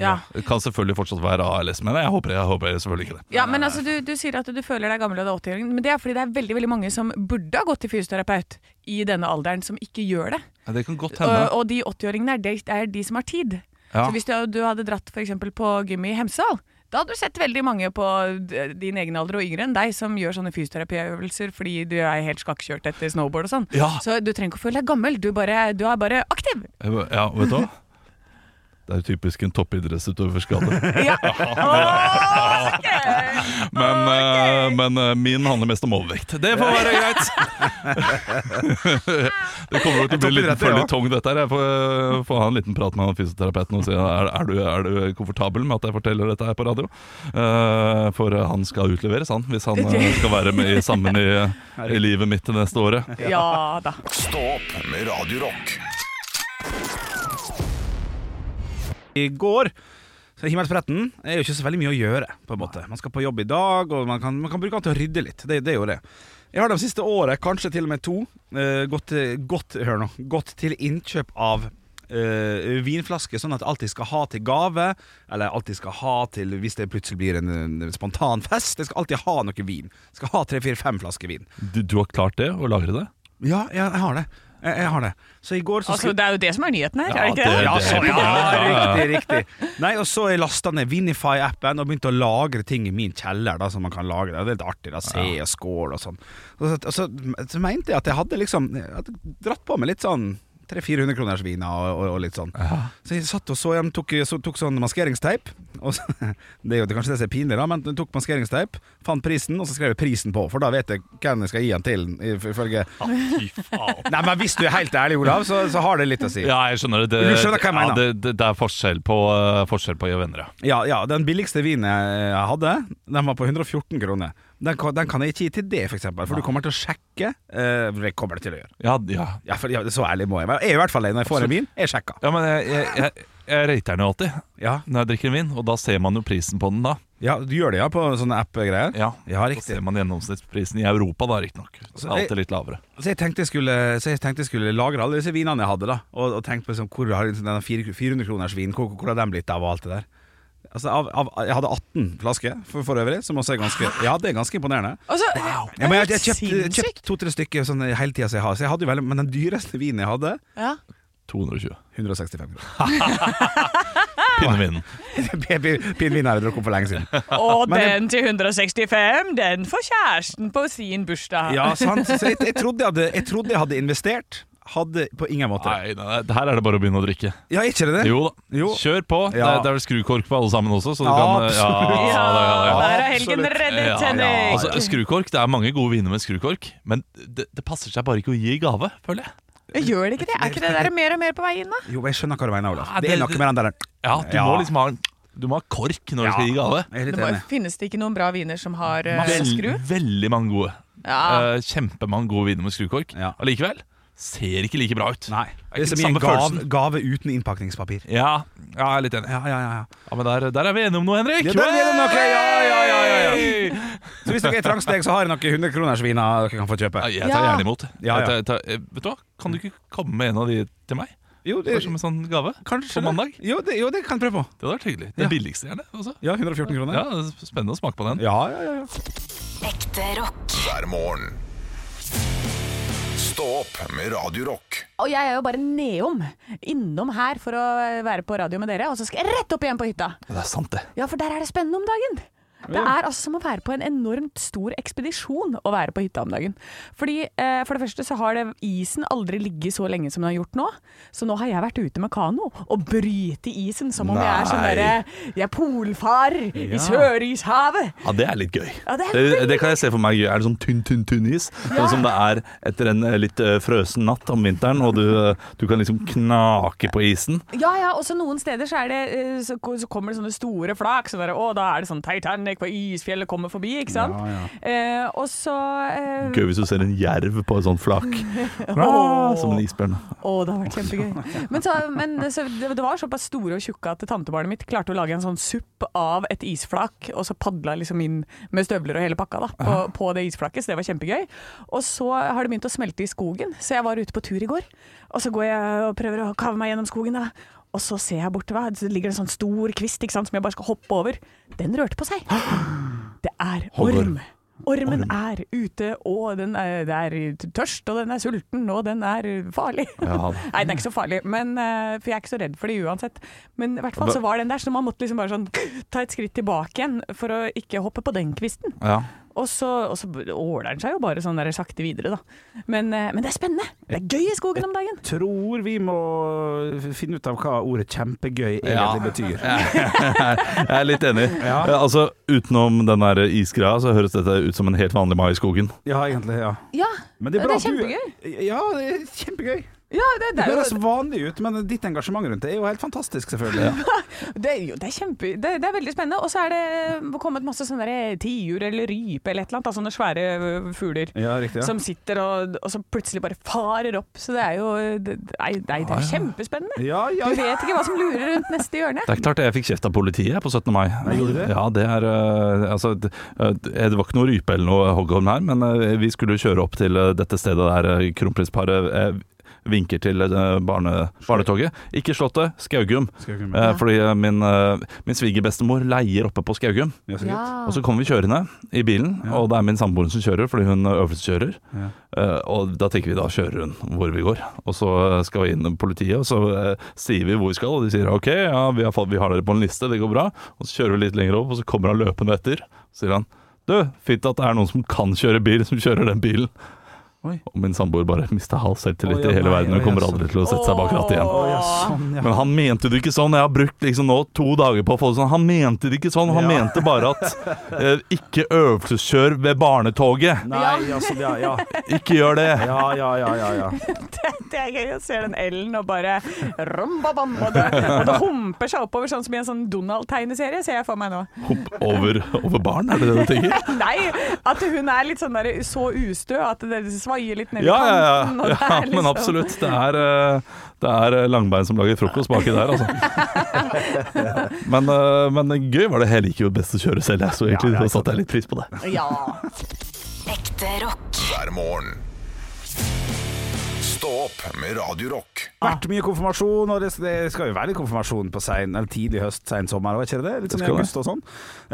B: Ja.
D: Det kan selvfølgelig fortsatt være ALS, men jeg håper, jeg håper selvfølgelig ikke det.
B: Ja, men altså, du, du sier at du føler deg gammel og det er 80-åringen, men det er fordi det er veldig veldig mange som burde ha gått til fysioterapeut i denne alderen, som ikke gjør det.
D: Ja, Det kan godt
B: Og,
D: hende.
B: og de 80-åringene er, de- er de som har tid.
D: Ja.
B: Så hvis du, du hadde dratt for eksempel på gym i Hemsedal, da hadde du sett veldig mange på d- din egen alder og yngre enn deg som gjør sånne fysioterapiøvelser fordi du er helt skakkjørt etter snowboard og sånn.
D: Ja.
B: Så du trenger ikke å føle deg gammel, du, bare, du er bare aktiv.
D: Ja, vet du hva? Det er typisk en toppidrettsutøverskade.
B: Ja.
D: Men, eh, men eh, min handler mest om overvekt. Det får være greit! det kommer jo til å bli en
C: Toppidretter,
D: liten
C: ja.
D: føljetong, dette her. Jeg får, eh, får ha en liten prat med han fysioterapeuten og si er, er, du, er du komfortabel med at jeg forteller dette her på radio. Eh, for eh, han skal utleveres, han, hvis han eh, skal være med i- sammen i, i livet mitt det neste året.
B: ja da.
A: Stå opp med Radio Rock.
C: I går så Himmelspretten er jo ikke så veldig mye å gjøre. på en måte Man skal på jobb i dag, og man kan, man kan bruke den til å rydde litt. Det, det er jo det. Jeg har de siste året, kanskje til og med to, eh, gått, til- gått, hør nå, gått til innkjøp av eh, vinflasker, sånn at jeg alltid skal ha til gave, eller alltid skal ha til hvis det plutselig blir en, en spontan fest. Jeg skal alltid ha noe vin. Skal ha tre-fire-fem flasker vin.
D: Du, du har klart det, å lagre det?
C: Ja, jeg, jeg har det. Jeg, jeg har det. Så i går så
J: Altså, det er jo det som er nyheten her,
D: Ja,
J: er det ikke det?
D: det-
C: ja,
D: er
C: sånn, ja,
D: imponerende. Ja,
C: riktig, riktig. Nei, og så har jeg lasta ned Vinify-appen og begynt å lagre ting i min kjeller. Da, som man kan lagre. Det er litt artig. da, Se og skål og sånn. Og så, og så, så mente jeg at jeg hadde liksom jeg hadde dratt på meg litt sånn 300-400 kroners viner og, og, og litt sånn. Så jeg satt og så igjen, tok, så, tok sånn maskeringsteip. Og så, det er jo kanskje det som er pinlig, da, men jeg tok maskeringsteip, fant prisen, og så skrev jeg prisen på. For da vet jeg hvem jeg skal gi den til, ifølge Nei, men hvis du er helt ærlig, Olav, så, så har det litt å si.
D: Ja, jeg skjønner det.
C: Du skjønner hva jeg mener.
D: det, det, det er forskjell på, eh, forskjell på å gjøre venner, ja.
C: Ja, ja, den billigste vinen jeg hadde, den var på 114 kroner. Den, kan- den kan jeg ikke gi til det, for eksempel, for du kommer til å sjekke. eh, det kommer det til å gjøre.
D: Ja, ja.
C: Ja, for, ja, så ærlig må jeg være. Jeg er i hvert fall det når jeg får en vin. Jeg sjekker.
D: ja men jeg, jeg, jeg, jeg rater den jo alltid.
C: Ja,
D: når jeg drikker en vin, og da ser man jo prisen på den da.
C: ja du gjør det, ja, på sånne app-greier? Ja,
D: Så
C: riktig.
D: ser man gjennomsnittsprisen i Europa da, riktignok. Så det er alltid litt lavere.
C: Så jeg tenkte jeg skulle, så jeg tenkte jeg skulle lagre alle disse vinene jeg hadde, da. Og, og tenkte på liksom, hvor har denne 400 kroners vin hvor, hvor har den blitt av, og alt det der. Altså, av, av, jeg hadde 18 flasker for, for øvrig, som også er ganske Ja, det er ganske imponerende.
B: Altså,
C: Ja, men jeg,
B: det er
C: jeg kjøpte
B: helt
C: kjøpt to-tre stykker sånn, hele tida som jeg har. Så jeg hadde jo veldig, men den dyreste vinen jeg hadde,
B: Ja.
D: 220.
C: 165 kroner.
D: Pinnevinen.
C: Pinvin har jeg drukket opp for lenge siden.
J: Og
C: Men det-
J: den til 165, den får kjæresten på sin bursdag.
C: Ja, sant? Så jeg, jeg, trodde jeg, hadde, jeg trodde jeg hadde investert. Hadde på ingen måte det.
D: Nei, nei, nei, her er det bare å begynne å drikke.
C: Ja, ikke det det?
D: Jo da,
C: Jo.
D: kjør på. Det,
C: Ja.
D: er- det er vel skrukork på alle sammen også, så du
C: Ja,
D: kan eh,
C: absolutt.
D: Ja, det, ja, det, ja.
J: Der er helgen
C: absolutt.
J: reddet,
D: Ja,
J: Henrik.
D: ja. Altså, skrukork, det er mange gode viner med skrukork, men det, det passer seg bare ikke å gi i gave, føler jeg.
J: Gjør det ikke det? Er ikke det der mer og mer på vei inn, da?
C: Jo, jeg skjønner hva du mener, Olav.
D: Ja,
C: Det er
D: det-
C: noe med den der
D: Ja, du
C: Ja.
D: må liksom ha, en- du må ha kork når du skal gi gave.
C: Jeg er
J: Det
C: litt
J: må,
C: enig.
J: finnes det ikke noen bra viner som har eh,
D: Vel-
J: skru?
D: Veldig mange gode.
J: Ja.
D: Eh, kjempemange gode viner med skrukork.
C: Ja.
D: Allikevel, ser ikke like bra ut.
C: Nei. Det
D: ikke
C: er som
D: den
C: i en
D: samme
C: gave,
D: følelsen.
C: gave uten innpakningspapir.
D: Ja, ja, jeg er litt enig.
C: Ja, ja, ja, ja.
D: Ja, Men der, der er vi enige om noe, Henrik.
C: Ja, der er vi enige om noe. Ja, ja, ja, ja,
D: ja.
C: Så hvis dere er trangsteg, så har jeg noen 100 kroners viner dere kan få kjøpe.
D: Jeg tar
B: Ja.
D: gjerne imot.
C: Ja, ja.
D: Jeg tar, jeg tar, vet du hva? Kan du ikke komme med en av de til meg?
C: Jo,
D: Bare Som en sånn gave?
C: kanskje
D: På mandag?
C: Det. Jo, det, jo, det kan jeg prøve på.
D: Det hadde vært hyggelig.
C: Ja.
D: Den billigste, gjerne. Også.
C: Ja, 114 kroner.
D: Ja, det er Spennende å smake på den.
C: ja, ja. ja, ja.
H: Ekte rock.
A: hver morgen. Stå opp med Radio Rock.
B: Og jeg er jo bare nedom, innom her for å være på radio med dere, og så skal jeg rett opp igjen på hytta.
D: Det er sant, det.
B: Ja, for der er det spennende om dagen. Det er altså som å være på en enormt stor ekspedisjon å være på hytta om dagen. Fordi eh, For det første så har det, isen aldri ligget så lenge som den har gjort nå. Så nå har jeg vært ute med kano og bryte isen som om jeg er sånn
D: Nei.
B: derre Jeg er polfar i Sørishavet.
D: Ja, det er litt gøy.
B: Ja, det er
D: det, det kan jeg se for meg gøy. Er det sånn tynn, tynn, tynn is? Sånn som det er etter en eh, litt eh, frøsen natt om vinteren, og du, eh, du kan liksom knake på isen.
B: Ja ja, også noen steder så, er det, eh, så, ko- så kommer det sånne store flak. Så der, å, da er det sånn Titanic på isfjellet kommer forbi, ikke sant? Eh, og så eh,
D: Gøy hvis du ser en jerv på et sånt flak. Ah, som en isbjørn.
B: Å, det har vært kjempegøy. Men, så, men så, det det var såpass store og tjukke at tantebarnet mitt klarte å lage en sånn supp av et isflak, og så padla liksom inn med støvler og hele pakka da, på, på det isflaket, så det var kjempegøy. Og så har det begynt å smelte i skogen, så jeg var ute på tur i går, og så går jeg og prøver å kave meg gjennom skogen da. Og så ser jeg bortover, det ligger en sånn stor kvist ikke sant, som jeg bare skal hoppe over. Den rørte på seg. Det er orm. Ormen er ute, og den er, det er tørst, og den er sulten, og den er farlig.
D: Ja.
B: Nei, den er ikke så farlig, men, eh, for jeg er ikke så redd for det uansett. Men i hvert fall så var den der, så man måtte liksom bare sånn ta et skritt tilbake igjen for å ikke hoppe på den kvisten.
D: Ja.
B: Og så, og så åler den seg jo bare sånn der sakte videre, da. Men, eh, men det er spennende! Det er gøy i skogen om dagen!
C: Tror vi må finne ut av hva ordet 'kjempegøy' egentlig betyr.
D: Jeg er litt enig.
C: Ja.
D: Eh, Altså, utenom den der isgreia, så høres dette ut som en helt vanlig mai i skogen.
C: Ja, egentlig. ja
B: Ja,
C: Men det er,
B: Ja,
C: bra
B: det er
C: at du Ja, det er kjempegøy.
B: ja det,
C: Det
B: det er
C: høres
B: jo
C: vanlig ut, men ditt engasjement rundt det er jo helt fantastisk, selvfølgelig.
B: Det er, jo, det er kjempe... Det, det er veldig spennende. Og så er det eh, kommet masse sånne der eh, tiur eller rype eller et eller annet. da, Sånne svære ø, fugler.
C: Ja, riktig. Ja.
B: Som sitter og, og så plutselig bare farer opp. Så det er jo eh, det, Nei, nei,
D: Ah,
B: det er kjempespennende.
C: Ja, ja,
B: Du
C: ja.
B: vet ikke hva som lurer rundt neste hjørne.
D: Det er ikke klart jeg fikk kjeft av politiet på 17. mai.
C: gjorde du det?
D: Ja, det er eh, Altså, det eh, det var ikke noe rype eller noe hoggorm her, men eh, vi skulle jo kjøre opp til eh, dette stedet der eh, kronprinsparet eh, vinker til eh, barne, barnetoget. Ikke Slottet, Skaugum.
C: Skaugum,
D: Eh, Fordi eh, min, eh, min svigerbestemor leier oppe på Skaugum.
C: Ja, så greit.
D: Og så kommer vi kjørende i bilen, og det er min samboer som kjører, fordi hun øvelseskjører.
C: Ja.
D: Eh, og da tenker vi da kjører hun hvor vi går, og så eh, skal vi inn politiet, og så eh, sier vi hvor vi skal, og de sier ok, ja, vi har, fått- vi har dere på en liste, det går bra. Og så kjører vi litt lenger opp, og så kommer han løpende etter, og sier han du, fint at det er noen som kan kjøre bil, som kjører den bilen.
C: Oi.
D: Og min samboer bare mista halv selvtillit
C: Å, ja,
D: i hele
C: nei,
D: verden, hun
C: ja,
D: kommer
C: ja,
D: aldri til å sette seg bak rattet igjen.
C: Å, ja, sånn, ja.
D: Men han mente det ikke sånn. Jeg har brukt liksom nå to dager på å få det sånn. Han mente det ikke sånn. Han
C: Ja.
D: mente bare at eh, ikke øvelseskjør ved barnetoget.
C: Nei, altså, ja, ja.
D: Ikke gjør det.
C: Ja, ja, ja, ja, ja.
B: Det er gøy å se den L-en og bare rumbabam, og det, og det humper seg oppover, sånn som i en sånn Donald-tegneserie, ser jeg for meg nå.
D: Hopp over, over barn, er det det du tenker?
B: Nei, at hun er litt sånn der, så ustø at det svaier litt ned i
D: Ja, ja,
B: kanten. og
D: ja.
B: det er
D: ja men
B: liksom-
D: absolutt. Det er, eh, det er eh, langbein som lager frokost baki der, altså. Men, eh, men gøy var det. Jeg liker jo best å kjøre selv, jeg, så egentlig
C: Ja, ja,
D: da satte jeg litt pris på det.
B: Ja.
H: Ekte rock.
A: hver morgen. Stå opp med Radio Rock.
C: Vært mye konfirmasjon, og det, det skal jo være litt konfirmasjon på sein, eller tidlig høst, sein sommer, og er ikke det det? Litt sånn i
D: skal det.
C: august og sånn.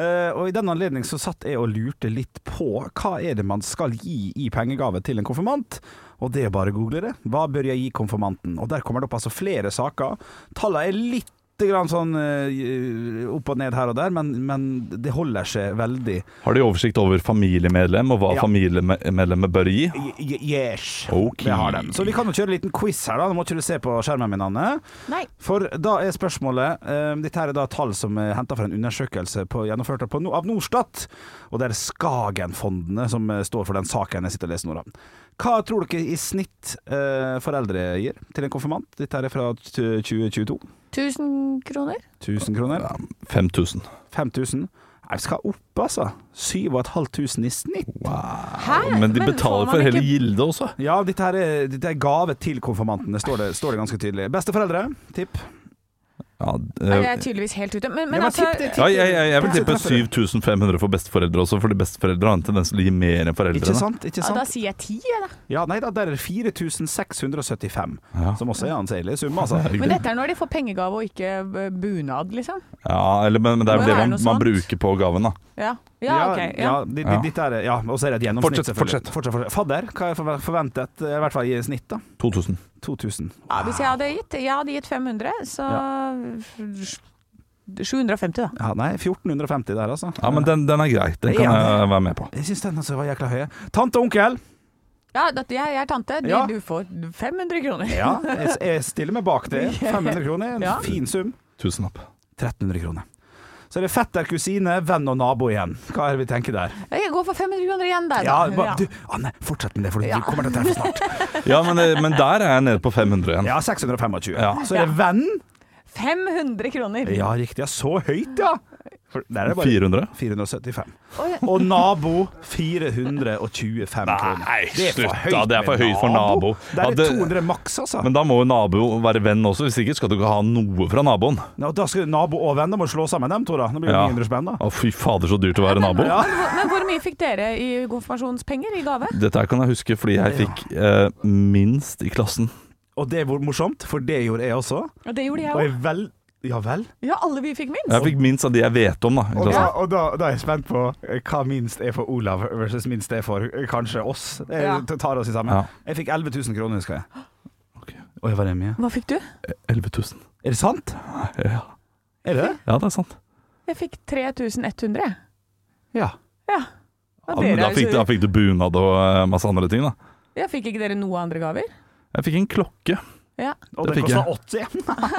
C: Eh, og i den anledning så satt jeg og lurte litt på hva er det man skal gi i pengegave til en konfirmant? Og det er bare å google det. Hva bør jeg gi konfirmanten? Og der kommer det opp altså flere saker. Tallene er litt grann sånn eh, opp og ned her og der, men, men det holder seg veldig.
D: Har de oversikt over familiemedlem, og hva
C: Ja.
D: familiemedlemmet bør gi?
C: Y- y- Yes.
D: Ok.
C: Vi har dem. Så vi kan jo kjøre en liten quiz her, da. Nå må ikke du se på skjermen min, Anne.
B: Nei.
C: For da er spørsmålet eh, Dette her er da tall som er henta fra en undersøkelse på, gjennomført på, no- av Norstat. Og det er Skagen-fondene som eh, står for den saken jeg sitter og leser nå. da. Hva tror dere i snitt eh, foreldre gir til en konfirmant? Dette her er fra t- 2022.
K: 1000 kroner?
C: 1000 kroner?
D: 5000.
C: 5000? Jeg skal opp, altså. 7500 i snitt.
B: Hæ?
D: Men de
B: får
D: betaler
B: man
D: for hele
B: ikke-
D: gildet også.
C: Ja, dette her er, dette er gave til konfirmantene, står det, står det ganske tydelig. Besteforeldre, tipp.
D: Ja,
B: Nei,
D: eh,
B: Jeg er tydeligvis helt ute. Men, men
C: Ja, men
B: altså
C: tipp det, tipp
D: ja, jeg, jeg, jeg vil
C: Ja.
D: tippe
B: sånn
D: 7500 for besteforeldre også, fordi besteforeldre har en tendens til å gi mer enn
C: Ikke
D: foreldrene.
C: sant? ikke
B: ja, Da
C: sant?
B: sier jeg ti, jeg, da.
C: Ja, nei da, der er det 4675,
D: Ja.
C: som også er en anselig sum, altså.
D: Det er
B: Men
D: hyggelig.
B: dette er når de får pengegave og ikke eh, bunad, liksom.
D: Ja, eller, men, men det er
B: Må
D: jo
B: jo
D: det
B: være
D: man,
B: noe
D: man
B: sånt.
D: bruker på gaven, da.
B: Ja, ja ok. Ja.
C: ja, di- di-
D: Ja.
C: ditt er, ja, og så er det et gjennomsnitt,
D: Fortsett,
C: selvfølgelig.
D: fortsett.
C: fortsett, fortsett. Fadder, hva er forve- forventet, eh, i hvert fall i snitt, da?
D: 2000.
C: 2000.
B: Ja, hvis jeg hadde gitt Jeg hadde gitt 500, så f- 750, da.
C: Ja, nei, 1450 der, altså.
D: Ja, men den, den er grei. Den kan
C: Ja.
D: jeg være med på.
C: Jeg syns den altså var jækla høy. Tante og onkel!
B: Ja, dette, jeg, jeg er tante. Du,
C: Ja.
B: du får 500 kroner.
C: Ja, jeg, jeg stiller meg bak det. 500 kroner, en
B: Ja.
C: fin sum.
D: Tusenlapp.
C: 1300 kroner. Så er det fetter, kusine, venn og nabo igjen. Hva er det vi tenker der?
B: Jeg går for 500 kroner igjen der,
C: Ja,
B: da.
C: ba, du, Anne, fortsett med det, for du
B: Ja.
C: kommer til å treffe snart.
D: Ja, men, eh, men der er jeg nede på 500 igjen.
C: Ja, 625.
D: Ja.
C: Så er det venn.
B: 500 kroner.
C: Ja, riktig. Ja, så høyt, ja. For Der er det bare
D: 400?
C: 475.
B: Oi.
C: Og nabo 425 kroner. Det er for
D: slutt,
C: høyt
D: da. Det er for
C: med
D: høyt for nabo.
C: Der
D: Ja,
C: er
D: det-
C: 200 maks, altså.
D: Men da må jo nabo være venn også, hvis ikke skal du ikke ha noe fra naboen.
C: Ja, da skal nabo og venn, da må du slå sammen dem to, da. Det blir det
D: Ja.
C: 900 spenn, da.
D: Å, fy fader, så dyrt å være nabo.
B: Men, hvor, men hvor mye fikk dere i konfirmasjonspenger i gave?
D: Dette her kan jeg huske fordi jeg fikk eh, minst i klassen.
C: Og det var morsomt, for det gjorde jeg også.
B: Ja, det gjorde
C: Og
B: jeg òg.
C: jeg vel Ja vel?
B: Ja, alle vi fikk minst.
D: Jeg fikk minst av de jeg vet om, da. I
C: Og, da,
D: klassen.
C: og da, da er jeg spent på eh, hva minst er for Olav versus minst er for eh, kanskje oss. Eh,
B: Ja.
C: t- Tar oss i sammen.
D: Ja.
C: Jeg fikk 11 000 kroner, husker jeg. Oi, var det mye?
B: Hva fikk du?
D: 11 000.
C: Er det sant?
D: Ja.
C: Er det?
D: ja, det er sant.
B: Jeg fikk 3100. jeg.
C: Ja.
B: Ja.
D: Ja,
B: Og
D: men
B: dere,
D: da, fikk, da
B: altså,
D: fikk du bunad og eh, masse andre ting, da.
B: jeg fikk ikke dere noe andre gaver?
D: Jeg fikk en klokke.
B: Ja.
C: Og det
D: Det fikk jeg.
C: kosta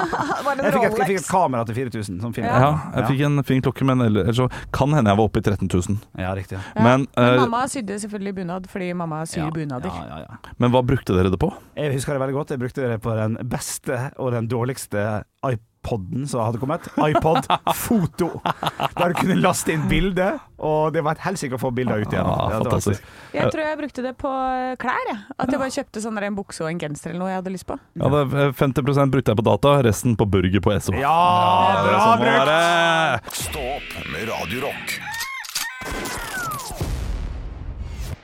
C: 80.
B: Var
C: Jeg fikk, et,
B: det en
C: jeg fikk
B: Rolex?
C: et kamera til 4000. Sånn film.
D: Ja, jeg fikk en fin klokke, men ell- ellers så kan hende jeg var oppe i 13 000.
C: Ja, riktig. Ja.
B: Ja,
D: Men, eh,
B: mamma sydde selvfølgelig bunad, fordi mamma syr bunader.
C: Ja, ja, ja.
D: men hva brukte dere det på?
C: Jeg husker det veldig godt. Jeg brukte det på den beste og den dårligste iPoden som hadde kommet. iPod Foto. Der du kunne laste inn bilde, og det var et helsike å få bilder ut igjen.
D: Ja,
C: Ja, det var
D: Ah, fantastisk.
B: Jeg tror jeg brukte det på eh, klær. jeg. At jeg bare kjøpte sånn der en bukse og en genser eller noe jeg hadde lyst på.
D: Ja, det, 50 brukte jeg på data, resten på burger på SO.
C: Ja, bra
D: sånn
C: brukt!
A: Stå opp med Radio Rock.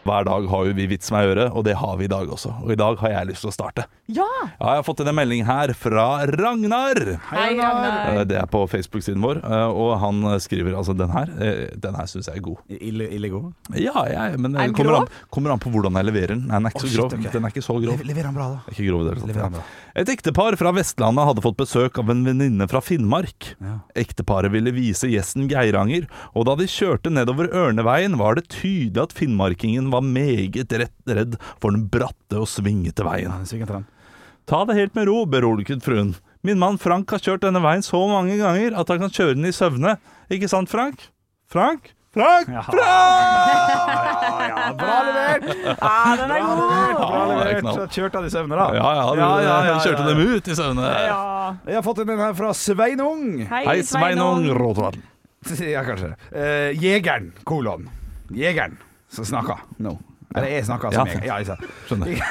D: Hver dag har jo vi vits med å gjøre, og det har vi i dag også. Og i dag har jeg lyst til å starte.
B: Ja!
D: Ja, jeg har fått en melding her fra Ragnar.
B: Hei, Ragnar.
D: Eh, Det er på Facebook-siden vår, eh, og han skriver altså den her. eh, Den her syns jeg er god.
C: Ille, ille god.
D: Ja, jeg, men det
B: den
D: kommer an,
B: grov?
D: kommer an på hvordan jeg leverer den. Nei, den er
C: Å,
D: ikke så
C: shit,
D: grov.
C: ok.
D: Den er ikke så grov.
C: Lever han bra, da?
D: Ikke grov i det hele tatt.
C: Lever han bra.
D: Et ektepar fra Vestlandet hadde fått besøk av en venninne fra Finnmark.
C: Ja.
D: Ekteparet ville vise gjesten Geiranger, og da de kjørte nedover Ørneveien, var det tydelig at finnmarkingen var meget rett redd for den bratte og svingete veien.
C: den svinger til den.
D: Ta det helt med ro, beroliget fruen. Min mann Frank har kjørt denne veien så mange ganger at han kan kjøre den i søvne. Ikke sant, Frank? Frank? Frank?
C: Ja.
D: Frank!
C: Ja, bra levert!
B: Ja, den er god!
C: Bra
D: Ja, det er
C: levert.
D: knall.
C: Så Kjørte han i søvne, da?
D: Ja, ja,
C: Ja, ja, ja,
D: han kjørte
C: ja.
D: dem ut i søvne.
C: Jeg har fått en her fra Sveinung.
D: Hei, Sveinung Rotevatn.
C: Ja, kanskje. Eh, jegeren, kolon. Jegeren som snakker nå. Eller jeg snakker som
D: Ja.
C: jeg. Ja, jeg sa.
D: Skjønner.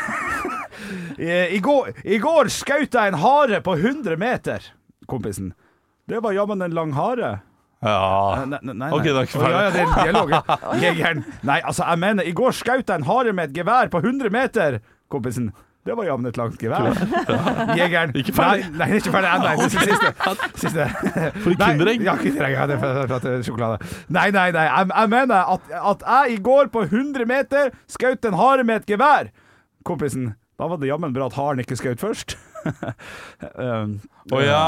C: Eh, I går, i går skjøt jeg en hare på 100 meter, kompisen. Det var jammen en lang hare.
D: Ja.
C: Ah, Nei, nei, nei.
D: Ok, det er ikke
C: Å, ja, ja, det
D: ferdig.
C: er en dialog. ja. Jegeren. Nei, altså, jeg mener, i går skjøt jeg en hare med et gevær på 100 meter, kompisen. Det var jammen et langt gevær. Jegeren.
D: Ikke ferdig.
C: Nei, nei, ikke ferdig ennå. Det er Siste. siste.
D: For et kinderegg.
C: Nei, ja, kinderegg. Ja, det er for- for at det er sjokolade. Nei, nei, nei. Jeg, jeg mener at, at jeg i går på 100 meter skjøt en hare med et gevær. Kompisen. Da var det jammen bra at haren ikke skjøt først. um,
D: Å ja,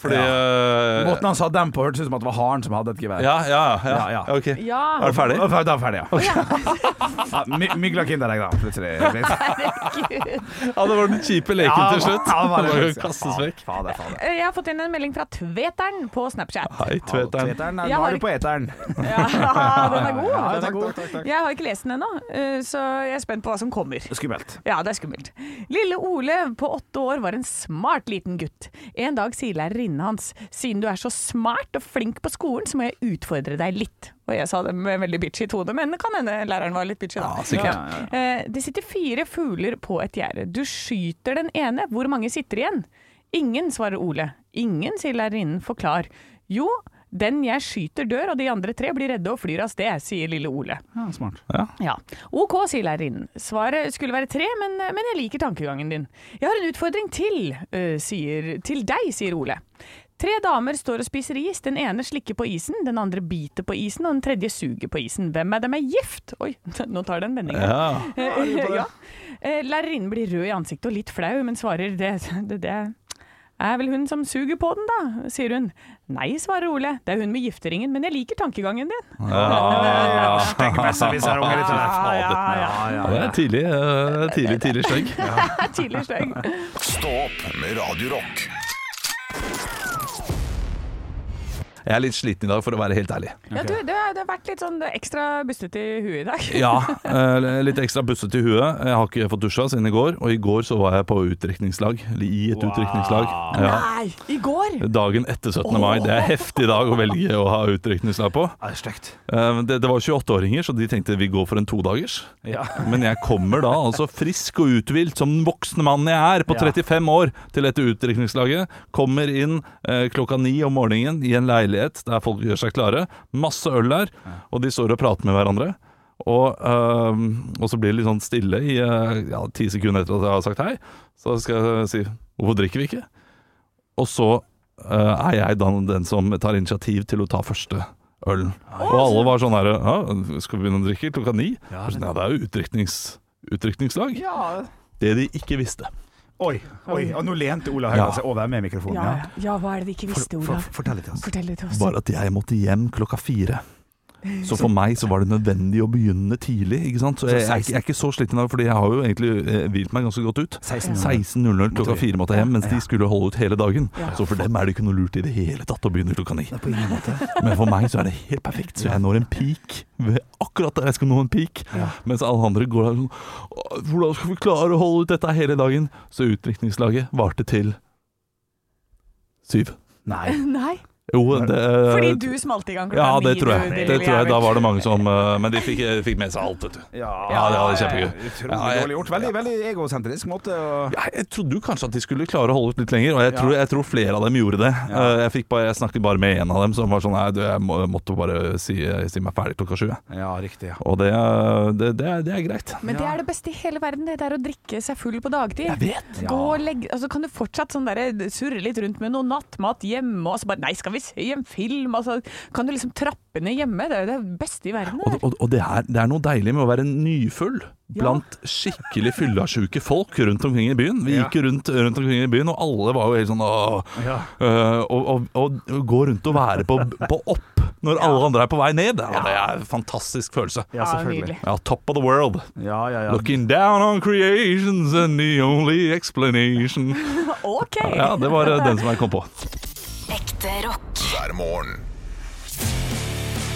D: fordi eh,
C: Måten han sa dem på, hørtes ut som at det var haren som hadde et gevær.
D: ja, ja, ja,
C: Ja, ja.
D: Ok.
B: Ja.
D: Er du ferdig?
C: Da er jeg ferdig, ja. ja my- Mygla Kinderegg, da, plutselig.
D: Ja, det var den kjipe leken til slutt.
C: Ja,
D: Det var jo
C: det.
D: kastes vekk.
C: Fader, fader.
B: Eh, Jeg har fått inn en melding fra Tveteren på Snapchat.
D: Hei, Tveteren.
C: Tveteren,
B: Jeg
C: Nå
B: har
C: er du på eteren.
B: Ja, den er god.
C: Ja,
B: Den er
C: takk,
B: god.
C: takk, takk, takk.
B: Jeg har ikke lest den ennå, eh, så jeg er spent på hva som kommer.
C: Skummelt.
B: Ja, det er skummelt. Lille Ole på åtte år Halvor var en smart liten gutt. En dag sier lærerinnen hans siden du er så smart og flink på skolen, så må jeg utfordre deg litt. Og jeg sa det med veldig bitchy tone, men det kan hende læreren var litt bitchy da. Eh, Det sitter fire fugler på et gjerde. Du skyter den ene. Hvor mange sitter igjen? Ingen, svarer Ole. Ingen, sier lærerinnen. Forklar. Jo, den jeg skyter dør, og de andre tre blir redde og flyr av sted, sier lille Ole.
C: Ja, smart. Ja.
B: Ja. OK, sier lærerinnen. Svaret skulle være tre, men, men jeg liker tankegangen din. Jeg har en utfordring til, øh, sier, til deg, sier Ole. Tre damer står og spiser is. Den ene slikker på isen, den andre biter på isen, og den tredje suger på isen. Hvem av dem er gift? Oi, nå tar det en vending. her. Eh, ja. Eh, Lærerinnen blir rød i ansiktet og litt flau, men svarer det, det, det er vel hun som suger på den, da, sier hun. Nei, svarer Ole, det er hun med gifteringen, men jeg liker tankegangen din. Ja, ja, ja.
D: Ja, det er tidlig, eh, tidlig, tidlig skjegg.
B: Tidlig sløgg.
A: Stå opp med Radio Rock.
D: Jeg er litt sliten i dag, for å være helt ærlig.
B: Ja, du, det har det har vært litt sånn ekstra bustete i huet i dag.
D: Ja, eh, litt ekstra busset i huet. Jeg har ikke fått dusja siden i går, og i går så var jeg på utdrikningslag. eller I et utdrikningslag. Ja.
B: Nei, i går!
D: Dagen etter 17. mai. Det er heftig dag å velge å ha utdrikningslag på.
C: det er stygt.
D: Eh, men Det, det var 28-åringer, så de tenkte vi går for en todagers.
C: Ja.
D: Men jeg kommer da altså frisk og uthvilt som den voksne mannen jeg er på
C: Ja.
D: 35 år til dette utdrikningslaget. Kommer inn eh, klokka ni om morgenen i en leilighet der folk gjør seg klare. Masse øl der, og de står og prater med hverandre. Og, eh, og så blir det litt sånn stille i eh, ja, ti sekunder etter at jeg har sagt hei. Så skal jeg si 'hvorfor drikker vi ikke?' Og så eh, er jeg da den som tar initiativ til å ta første ølen. Og alle var sånn her ja, 'Skal vi begynne å drikke klokka ni?' Ja, sånn, ja, det er jo utdriknings, utdrikningslag. Det de ikke visste.
C: Oi, oi, og nå lente Ola
D: Ja.
C: Høyre seg over med mikrofonen.
B: Ja,
C: Ja.
B: ja, hva er det vi ikke visste,
C: For,
B: Ola?
C: fortell litt til oss.
B: Fortell det til oss.
D: Bare at jeg måtte hjem klokka fire. Så for meg så var det nødvendig å begynne tidlig. ikke sant? Så jeg, jeg, er ikke- jeg er ikke så sliten i dag, Fordi jeg har jo egentlig eh, hvilt meg ganske godt ut.
C: 16.
D: 16.00 klokka
C: vi.
D: fire måtte jeg hjem, mens de
C: Ja.
D: skulle holde ut hele dagen. Så for dem er det ikke noe lurt i det hele tatt å begynne klokka ni.
C: På ingen måte.
D: Men for meg så er det helt perfekt. Så jeg når en peak ved akkurat der jeg skal nå en peak. Mens alle andre går der sånn «Åh, Hvordan skal vi klare å holde ut dette hele dagen? Så utdrikningslaget varte til syv.
C: Nei.
B: Nei,
D: Jo, det
B: fordi du smalt i gang klokka
D: Eh, Ja,
B: ni.
D: det tror
B: du,
D: jeg.
B: din
D: Det
B: lille
D: tror jeg Da
B: jævel.
D: var det mange som eh, Men de fikk, fikk med seg alt, vet du. Ja, det var kjempegøy.
C: Utrolig
D: Ja, jeg-
C: dårlig gjort. Veldig, veldig egosentrisk måte å
D: Ja, jeg trodde jo kanskje at de skulle klare å holde ut litt lenger, og jeg tror, jeg tror flere av dem gjorde det. Eh, Jeg, fikk bare, jeg snakket bare med en av dem som var sånn Nei, du, jeg må, måtte bare si, si meg ferdig klokka sju. jeg».
C: Ja, riktig. Ja.
D: Og det, eh, det, det, er- det er greit.
B: Men det er det beste i hele verden, det der å drikke seg full på dagtid.
D: Jeg vet.
B: Gå og legge, altså kan du fortsatt sånn der, surre litt rundt med noe nattmat hjemme, og så bare Nei, skal vi se en film? Altså, kan du liksom trappe ned hjemme? Det er jo det beste i verden.
D: Og,
B: det der.
D: og, og det, er, det er noe deilig med å være nyfull blant skikkelig fyllasjuke folk rundt omkring i byen. Vi gikk jo rundt, rundt omkring i byen, og alle var jo helt sånn åh,
C: Ja.
D: øh, og, og, og, gå rundt og være på, på opp når alle andre er på vei ned. Ja, det er en fantastisk følelse.
C: Ja, selvfølgelig.
B: nydelig.
D: Ja, top of the world.
C: Ja, ja, ja.
D: Looking down on creations and the only explanation.
B: OK!
D: Ja, det var eh, den som jeg kom på.
H: Ekte rock.
A: Hver morgen.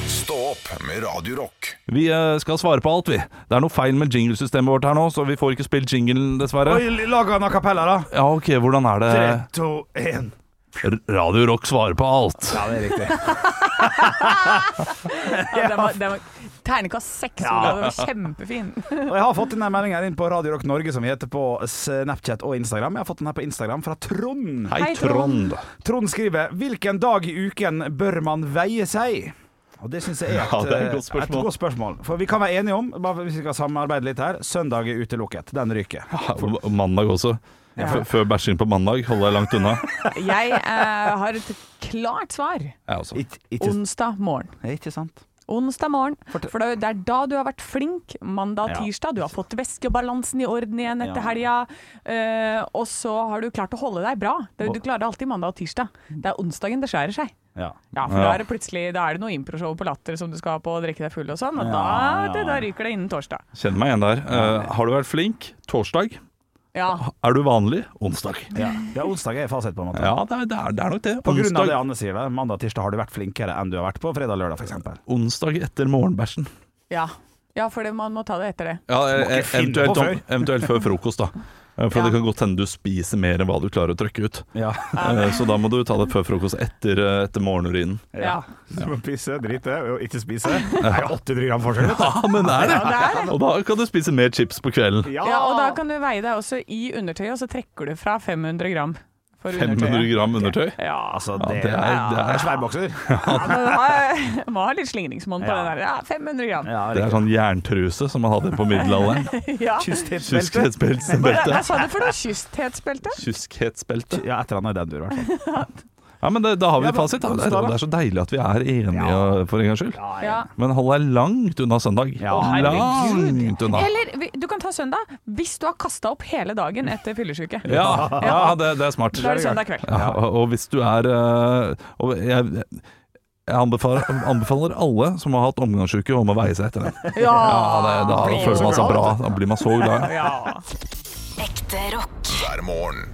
A: Stå opp med Radio Rock.
D: Vi eh, skal svare på alt, vi. Det er noe feil med jinglesystemet vårt her nå, så vi får ikke spilt jinglen, dessverre.
C: Oi, laga en akapella, da.
D: Ja, ok, hvordan er det?
C: 3, 2, 1.
D: R- Radio Rock svarer på alt.
C: Ja, det er riktig.
B: Ja, den var, den var, ternekast seks, Ola. Den var kjempefin.
C: Og jeg har fått denne meldingen her inn på Radio Rock Norge, som vi heter på Snapchat og Instagram. Jeg har fått den her på Instagram fra Trond.
B: Hei, Trond.
C: Trond skriver 'Hvilken dag i uken bør man veie seg?' Og det syns jeg er, et,
D: Ja, det er et godt
C: eh, et
D: spørsmål.
C: godt spørsmål. For vi kan være enige om, bare hvis vi skal samarbeide litt her, søndag er utelukket. Den ryker.
D: Ja, og Mandag også. F- Før bæsjing på mandag holder jeg langt unna.
B: Jeg eh, har et klart svar.
D: Jeg også.
C: Ikke, ikke,
B: Onsdag morgen.
C: ikke sant?
B: Onsdag morgen. For det er- det er da du har vært flink. Mandag,
C: Ja.
B: tirsdag. Du har fått væskebalansen i orden igjen etter helga. Eh, og så har du klart å holde deg bra. Det, du klarer alltid mandag og tirsdag. Det er onsdagen det skjærer seg.
C: Ja.
B: Ja, for da
D: Ja.
B: er det plutselig Da er det noe improshow på Latter som du skal ha på og drikke deg full og sånn. Og
C: Ja,
B: da,
C: ja.
B: det, da ryker det innen torsdag.
D: Kjenn meg igjen der. Eh, har du vært flink? Torsdag.
B: Ja.
D: Er du vanlig? Onsdag.
C: Ja. ja, onsdag er fasit, på en måte.
D: Ja, det er, det er, det er nok det.
C: På grunn av
D: Onsdag,
C: det Anne sier, der, mandag-tirsdag har du vært flinkere enn du har vært på fredag-lørdag, f.eks.
D: onsdag etter morgenbæsjen.
B: Ja, ja for det, man må ta det etter det.
D: Ja, eh,
C: ikke finne
D: eventuelt,
C: på før.
D: eventuelt før frokost, da.
I: Eh, For
B: Ja.
I: det kan godt hende du spiser mer enn hva du klarer å trøkke ut.
C: Ja.
I: Eh, Så da må du ta det før frokost, etter, eh, etter morgenurinen.
C: ja. Så må pisse, drite og ikke spise. Det er jo 80 gram forskjell. vet du.
I: Ja, men det er det!
B: det
I: Og da kan du spise mer chips på kvelden.
B: Ja, og da kan du veie deg også i undertøyet, og så trekker du fra 500 gram for
I: 500
B: undertøyet.
I: gram undertøy.
B: Ja,
C: Altså,
I: Ja,
C: det,
I: det er, det
C: det er
I: er,
C: sværbokser.
B: ja, men da- må ha litt slingringsmonn på
C: Ja.
B: den der. Ja, 500 gram.
C: Ja,
I: det er sånn jerntruse som man hadde på middelalderen.
B: Ja.
C: sånn Kysthetsbelte.
I: Kyskhetsbelte.
B: Hva sa du for noe? Kysthetsbelte?
I: Kyskhetsbelte.
C: Ja, et eller annet i den dur, i hvert fall.
I: Ja, men det, da har vi
C: Ja, men-
I: fasit. Da. Det, er, det er så deilig at vi er enige
C: Ja.
I: for en gangs skyld.
B: Ja.
I: Men hold deg langt unna søndag.
C: Ja. Å,
B: herregud.
I: langt
D: Ah.
I: unna.
B: Eller vi- du kan ta søndag hvis du har kasta opp hele dagen etter fyllesyke.
I: Ja, ja det, det er smart.
B: Da er det søndag kveld.
I: Ja, og, og hvis du er eh, og jeg, jeg anbefaler, anbefaler alle som har hatt omgangsuke, om å veie seg etter den. Ja, det, da
B: blir
I: føler
B: så
I: man seg bra.
B: glad.
I: Da blir man så glad.
B: Ja.
H: Ekte rock.
A: hver morgen.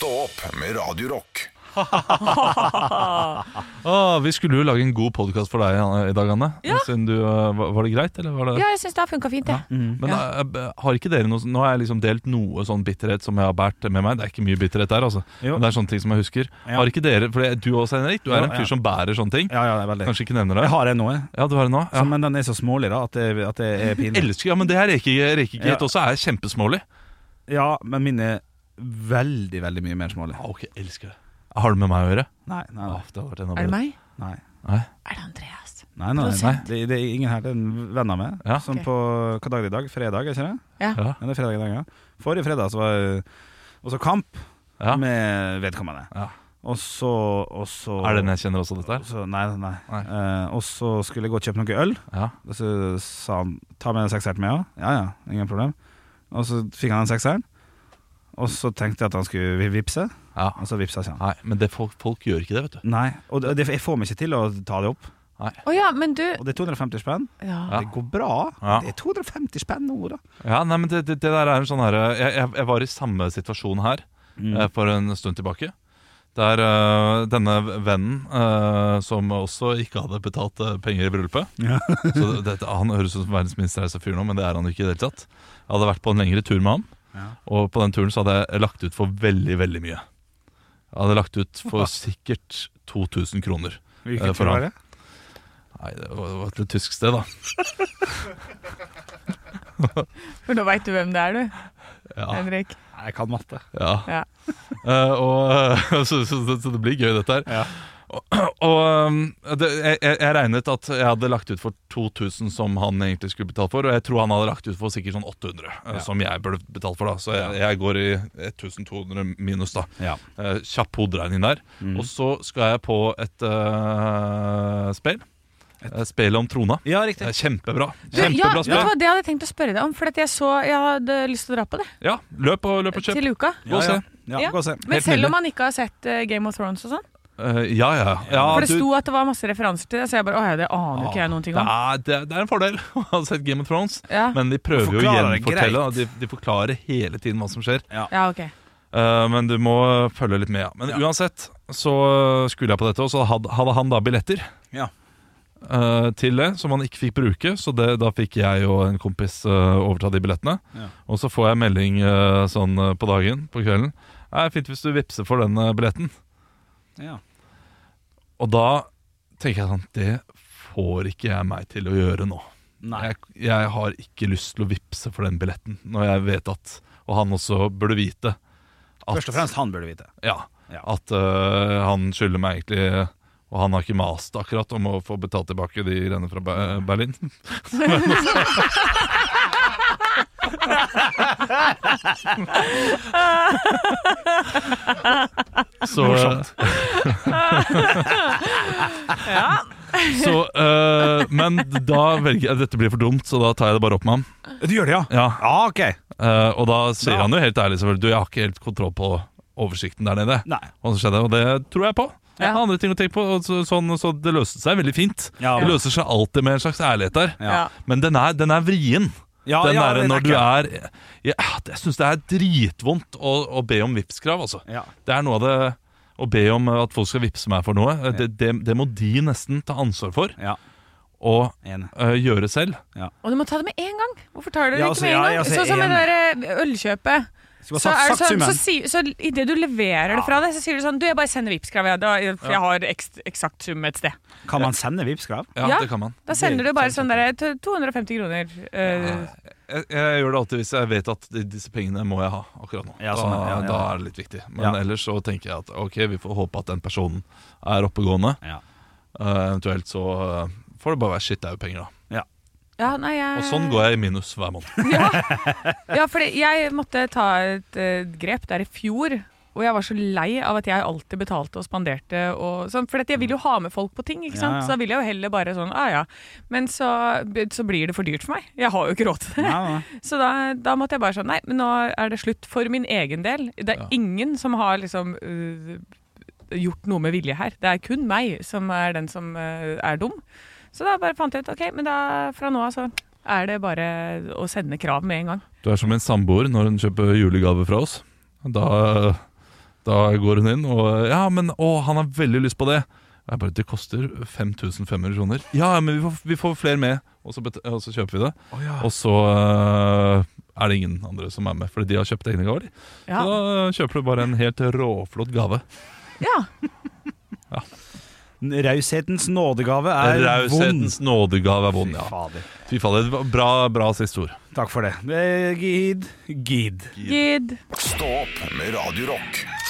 A: Stå opp med Radio Rock.
D: Ah, vi skulle jo lage en god podkast for deg eh, i dag, Anne. Siden du, eh, var var det greit, eller? Var det?
G: Ja, jeg syns det har funka fint, jeg.
D: Men eh, har ikke dere noe sånn- Nå har jeg liksom delt noe sånn bitterhet som jeg har båret med meg. Det er ikke mye bitterhet der, altså.
C: Jo.
D: Men det er sånne ting som jeg husker.
C: Ja.
D: Har ikke dere For det er du også, Henrik, du er
C: Jo,
D: en
C: ja.
D: fyr som bærer sånne ting.
C: Ja, ja, det er veldig.
D: Kanskje ikke nevner det.
C: Jeg har en nå, jeg.
D: Ja, du har det nå?
C: Så,
D: Ja.
C: men den er så smålig da at det, at det er pinlig.
D: Elsker, ja, men det her reke- rekegeit
C: Ja.
D: også er kjempesmålig.
C: Ja, men min er veldig, veldig mye mer smålig.
D: ok, elsker det. Har det med meg å gjøre?
C: Nei, nei,
D: Åh,
C: nei.
D: det har vært en av
G: Er det
D: bedre.
G: meg?
C: nei.
G: Er det Andreas?
C: Nei, nei, nei.
D: Prosent.
C: Det, det er ingen her, det er en venn av meg.
D: Ja.
C: Som
G: Ok.
C: på hva dag er det i dag? Fredag, er ikke det?
G: Ja.
D: Ja.
C: Ja, det er fredag i dag, ja. Forrige fredag så var jeg også kamp
D: Ja.
C: med vedkommende.
D: Ja.
C: Og så, og så
D: Er det den jeg kjenner også, dette her?
C: Så, nei, nei.
D: Nei.
C: Eh, og så skulle jeg gå og kjøpe noe øl.
D: Ja.
C: Og så sa han ta med en sekser til meg òg. Ja ja, ingen problem. Og så fikk han den sekseren. Og så tenkte jeg at han skulle vi- vippse,
D: ja.
C: og så vippsa ikke han.
D: Nei, men det, folk, folk gjør ikke det, vet du.
C: Nei, og det, jeg får meg ikke til å ta det opp.
G: Å ja, men du
C: Og det er 250 spenn.
G: ja.
D: Ja.
C: Det går bra.
D: Ja.
C: Det er 250 spenn nå, da.
D: Ja, nei, men det, det, det der er en sånn her jeg, jeg, jeg var i samme situasjon her eh, for en stund tilbake. Der eh, denne vennen, eh, som også ikke hadde betalt eh, penger i bryllupet
C: Ja.
D: så det, dette- Han høres ut som verdens minste reise fyr nå, men det er han jo ikke i det hele tatt. Jeg hadde vært på en lengre tur med han, og på den turen så hadde jeg lagt ut for veldig, veldig mye. Jeg hadde lagt ut for sikkert 2000 kroner. Eh, for han. Nei, det var, det var et litt tysk sted, da.
G: For nå veit du hvem det er, du,
D: Ja.
G: Henrik.
C: Jeg kan matte.
D: Ja.
G: Ja.
D: Eh, og, så, så, så, så det blir gøy, dette her. Og, og, um, det, jeg, jeg jeg regnet at jeg hadde lagt ut for 2000 som han egentlig skulle betalt for, og jeg tror han hadde lagt ut for sikkert sånn 800, eh, som jeg burde betalt for, da. Så jeg, jeg går i 1200 minus, da.
C: Ja.
D: Eh, kjapp hoderegning der.
C: Mm.
D: Og så skal jeg på et uh, spill. Eh, Spelet om trona.
C: ja,
D: Det
C: riktig.
D: er kjempebra.
G: Du, ja,
D: Kjempebra
G: vet du hva, det
D: spill.
G: hadde jeg tenkt å spørre deg om, for at jeg så Jeg hadde lyst til å dra på det
D: Ja, løp og, løp og kjøp.
G: til uka.
D: Gå og se.
C: Ja,
G: Ja.
C: gå og se.
G: Men
D: Helt nydelig.
G: selv om man ikke har sett eh, Game of Thrones og sånn.
D: Eh, ja, ja. ja
G: For det
D: du-
G: sto at det var masse referanser til det, så jeg bare Å ja, det aner jo ikke jeg noen ting om.
D: Ja, det, er- det er en fordel å ha sett Game of Thrones,
G: Ja.
D: men de prøver jo å
C: Forklarer det greit.
D: gjenfortelle. da. De, de forklarer hele tiden hva som skjer.
G: Ja, ok.
D: Eh, men du må følge litt med. Ja. Men uansett så skulle jeg på dette, og så hadde, hadde han da billetter
C: Ja.
D: eh, til det som han ikke fikk bruke. Så det, da fikk jeg og en kompis eh, overta de billettene.
C: Ja.
D: Og så får jeg melding eh, sånn eh, på dagen, på kvelden. Det er fint hvis du vippser for den eh, billetten.
C: Ja.
D: Og da tenker jeg sånn Det får ikke jeg meg til å gjøre nå.
C: Nei.
D: Jeg, jeg har ikke lyst til å vippse for den billetten når jeg vet at Og han også burde vite at,
C: Først og fremst han burde vite.
D: ja,
C: Ja.
D: at øh, han skylder meg egentlig Og han har ikke mast akkurat om å få betalt tilbake de greiene fra Be eh, Berlin. Så, eh, så øh, Men da velger jeg Dette blir for dumt, så da tar jeg det bare opp med ham.
C: Du gjør det, ja?
D: Ja,
C: Ja, ok.
D: Eh, og da sier
C: Bra.
D: han jo helt ærlig selvfølgelig Du, jeg har ikke helt kontroll på oversikten der nede
C: Nei.
D: Hva som skjedde, og det tror jeg på Jeg har andre ting å tenke på, og så, sånn, så det løste seg veldig fint
C: Ja.
D: Det løser seg alltid med en slags ærlighet der
C: Ja.
D: Men den er, den er vrien
C: Ja,
D: Den
C: ja,
D: der
C: den er
D: når du
C: ikke-
D: er Jeg, jeg synes det er dritvondt å, å be om vipskrav altså.
C: Ja.
D: Det er noe av det Å be om at folk skal vipse meg for noe Det, det, det må de nesten ta ansvar for
C: Ja.
D: å
C: Enig.
D: eh, gjøre selv.
B: Og du må ta det med en gang. Hvorfor tar du det
C: Ja,
B: ikke
C: altså,
B: med en
C: ja,
B: gang?
C: altså,
B: sånn som
C: en-
B: med det der eh, ølkjøpet.
C: Skal bare
B: Så, er
C: sagt,
B: det
C: sagt
B: sånn, så,
C: summen.
B: si, så idet du leverer det fra deg, så sier du sånn Du, jeg bare sender Vipps-krav, jeg, da- for jeg har eks, eksakt sum et sted.
C: Kan man sende Vipps-krav?
D: Ja,
B: Ja.
D: det kan man.
B: Da sender du bare sånn derre 250 kroner. eh,
D: Jeg, jeg gjør det alltid hvis jeg vet at de- disse pengene må jeg ha akkurat nå.
C: Ja, sånn,
D: da,
C: ja, ja.
D: da er det litt viktig. Men
C: Ja.
D: ellers så tenker jeg at ok, vi får håpe at den personen er oppegående.
C: Ja.
D: Eh, eventuelt så eh, får det bare være shit, det er jo penger, da.
B: ja, nei, jeg
D: Og sånn går jeg i minus hver måned.
B: Ja, fordi jeg måtte ta et eh, grep der i fjor. Og jeg var så lei av at jeg alltid betalte og spanderte. Og sånn, for jeg vil jo ha med folk på ting, ikke
C: Ja,
B: sant?
C: ja.
B: så da vil jeg jo heller bare sånn ah, ja. Men så, så blir det for dyrt for meg. Jeg har jo ikke råd til det.
C: Nei, nei.
B: Så da, da måtte jeg bare sånn Nei, men nå er det slutt for min egen del. Det er
D: Ja.
B: ingen som har liksom øh, gjort noe med vilje her. Det er kun meg som er den som øh, er dum. Så da bare fant jeg ut OK, men da fra nå av så er det bare å sende krav med en gang.
D: Du er som en samboer når hun kjøper julegave fra oss. Da, da går hun inn og Ja, men å, han har veldig lyst på det. Og Jeg bare, Det koster 5500 kroner. Ja, men vi får, vi får flere med. Og så, bet- og så kjøper vi det. Og så eh, er det ingen andre som er med, fordi de har kjøpt egne gaver. de. Så
B: Ja.
D: da kjøper du bare en helt råflott gave.
B: ja.
C: Raushetens nådegave er vond.
D: Raushetens nådegave er vond,
C: Fy
D: ja.
C: fader.
D: Fy fader, det var bra, bra siste ord.
C: Takk for det. Eh, Gid. Gid.
B: Gid.
A: Stå opp med Radio Rock.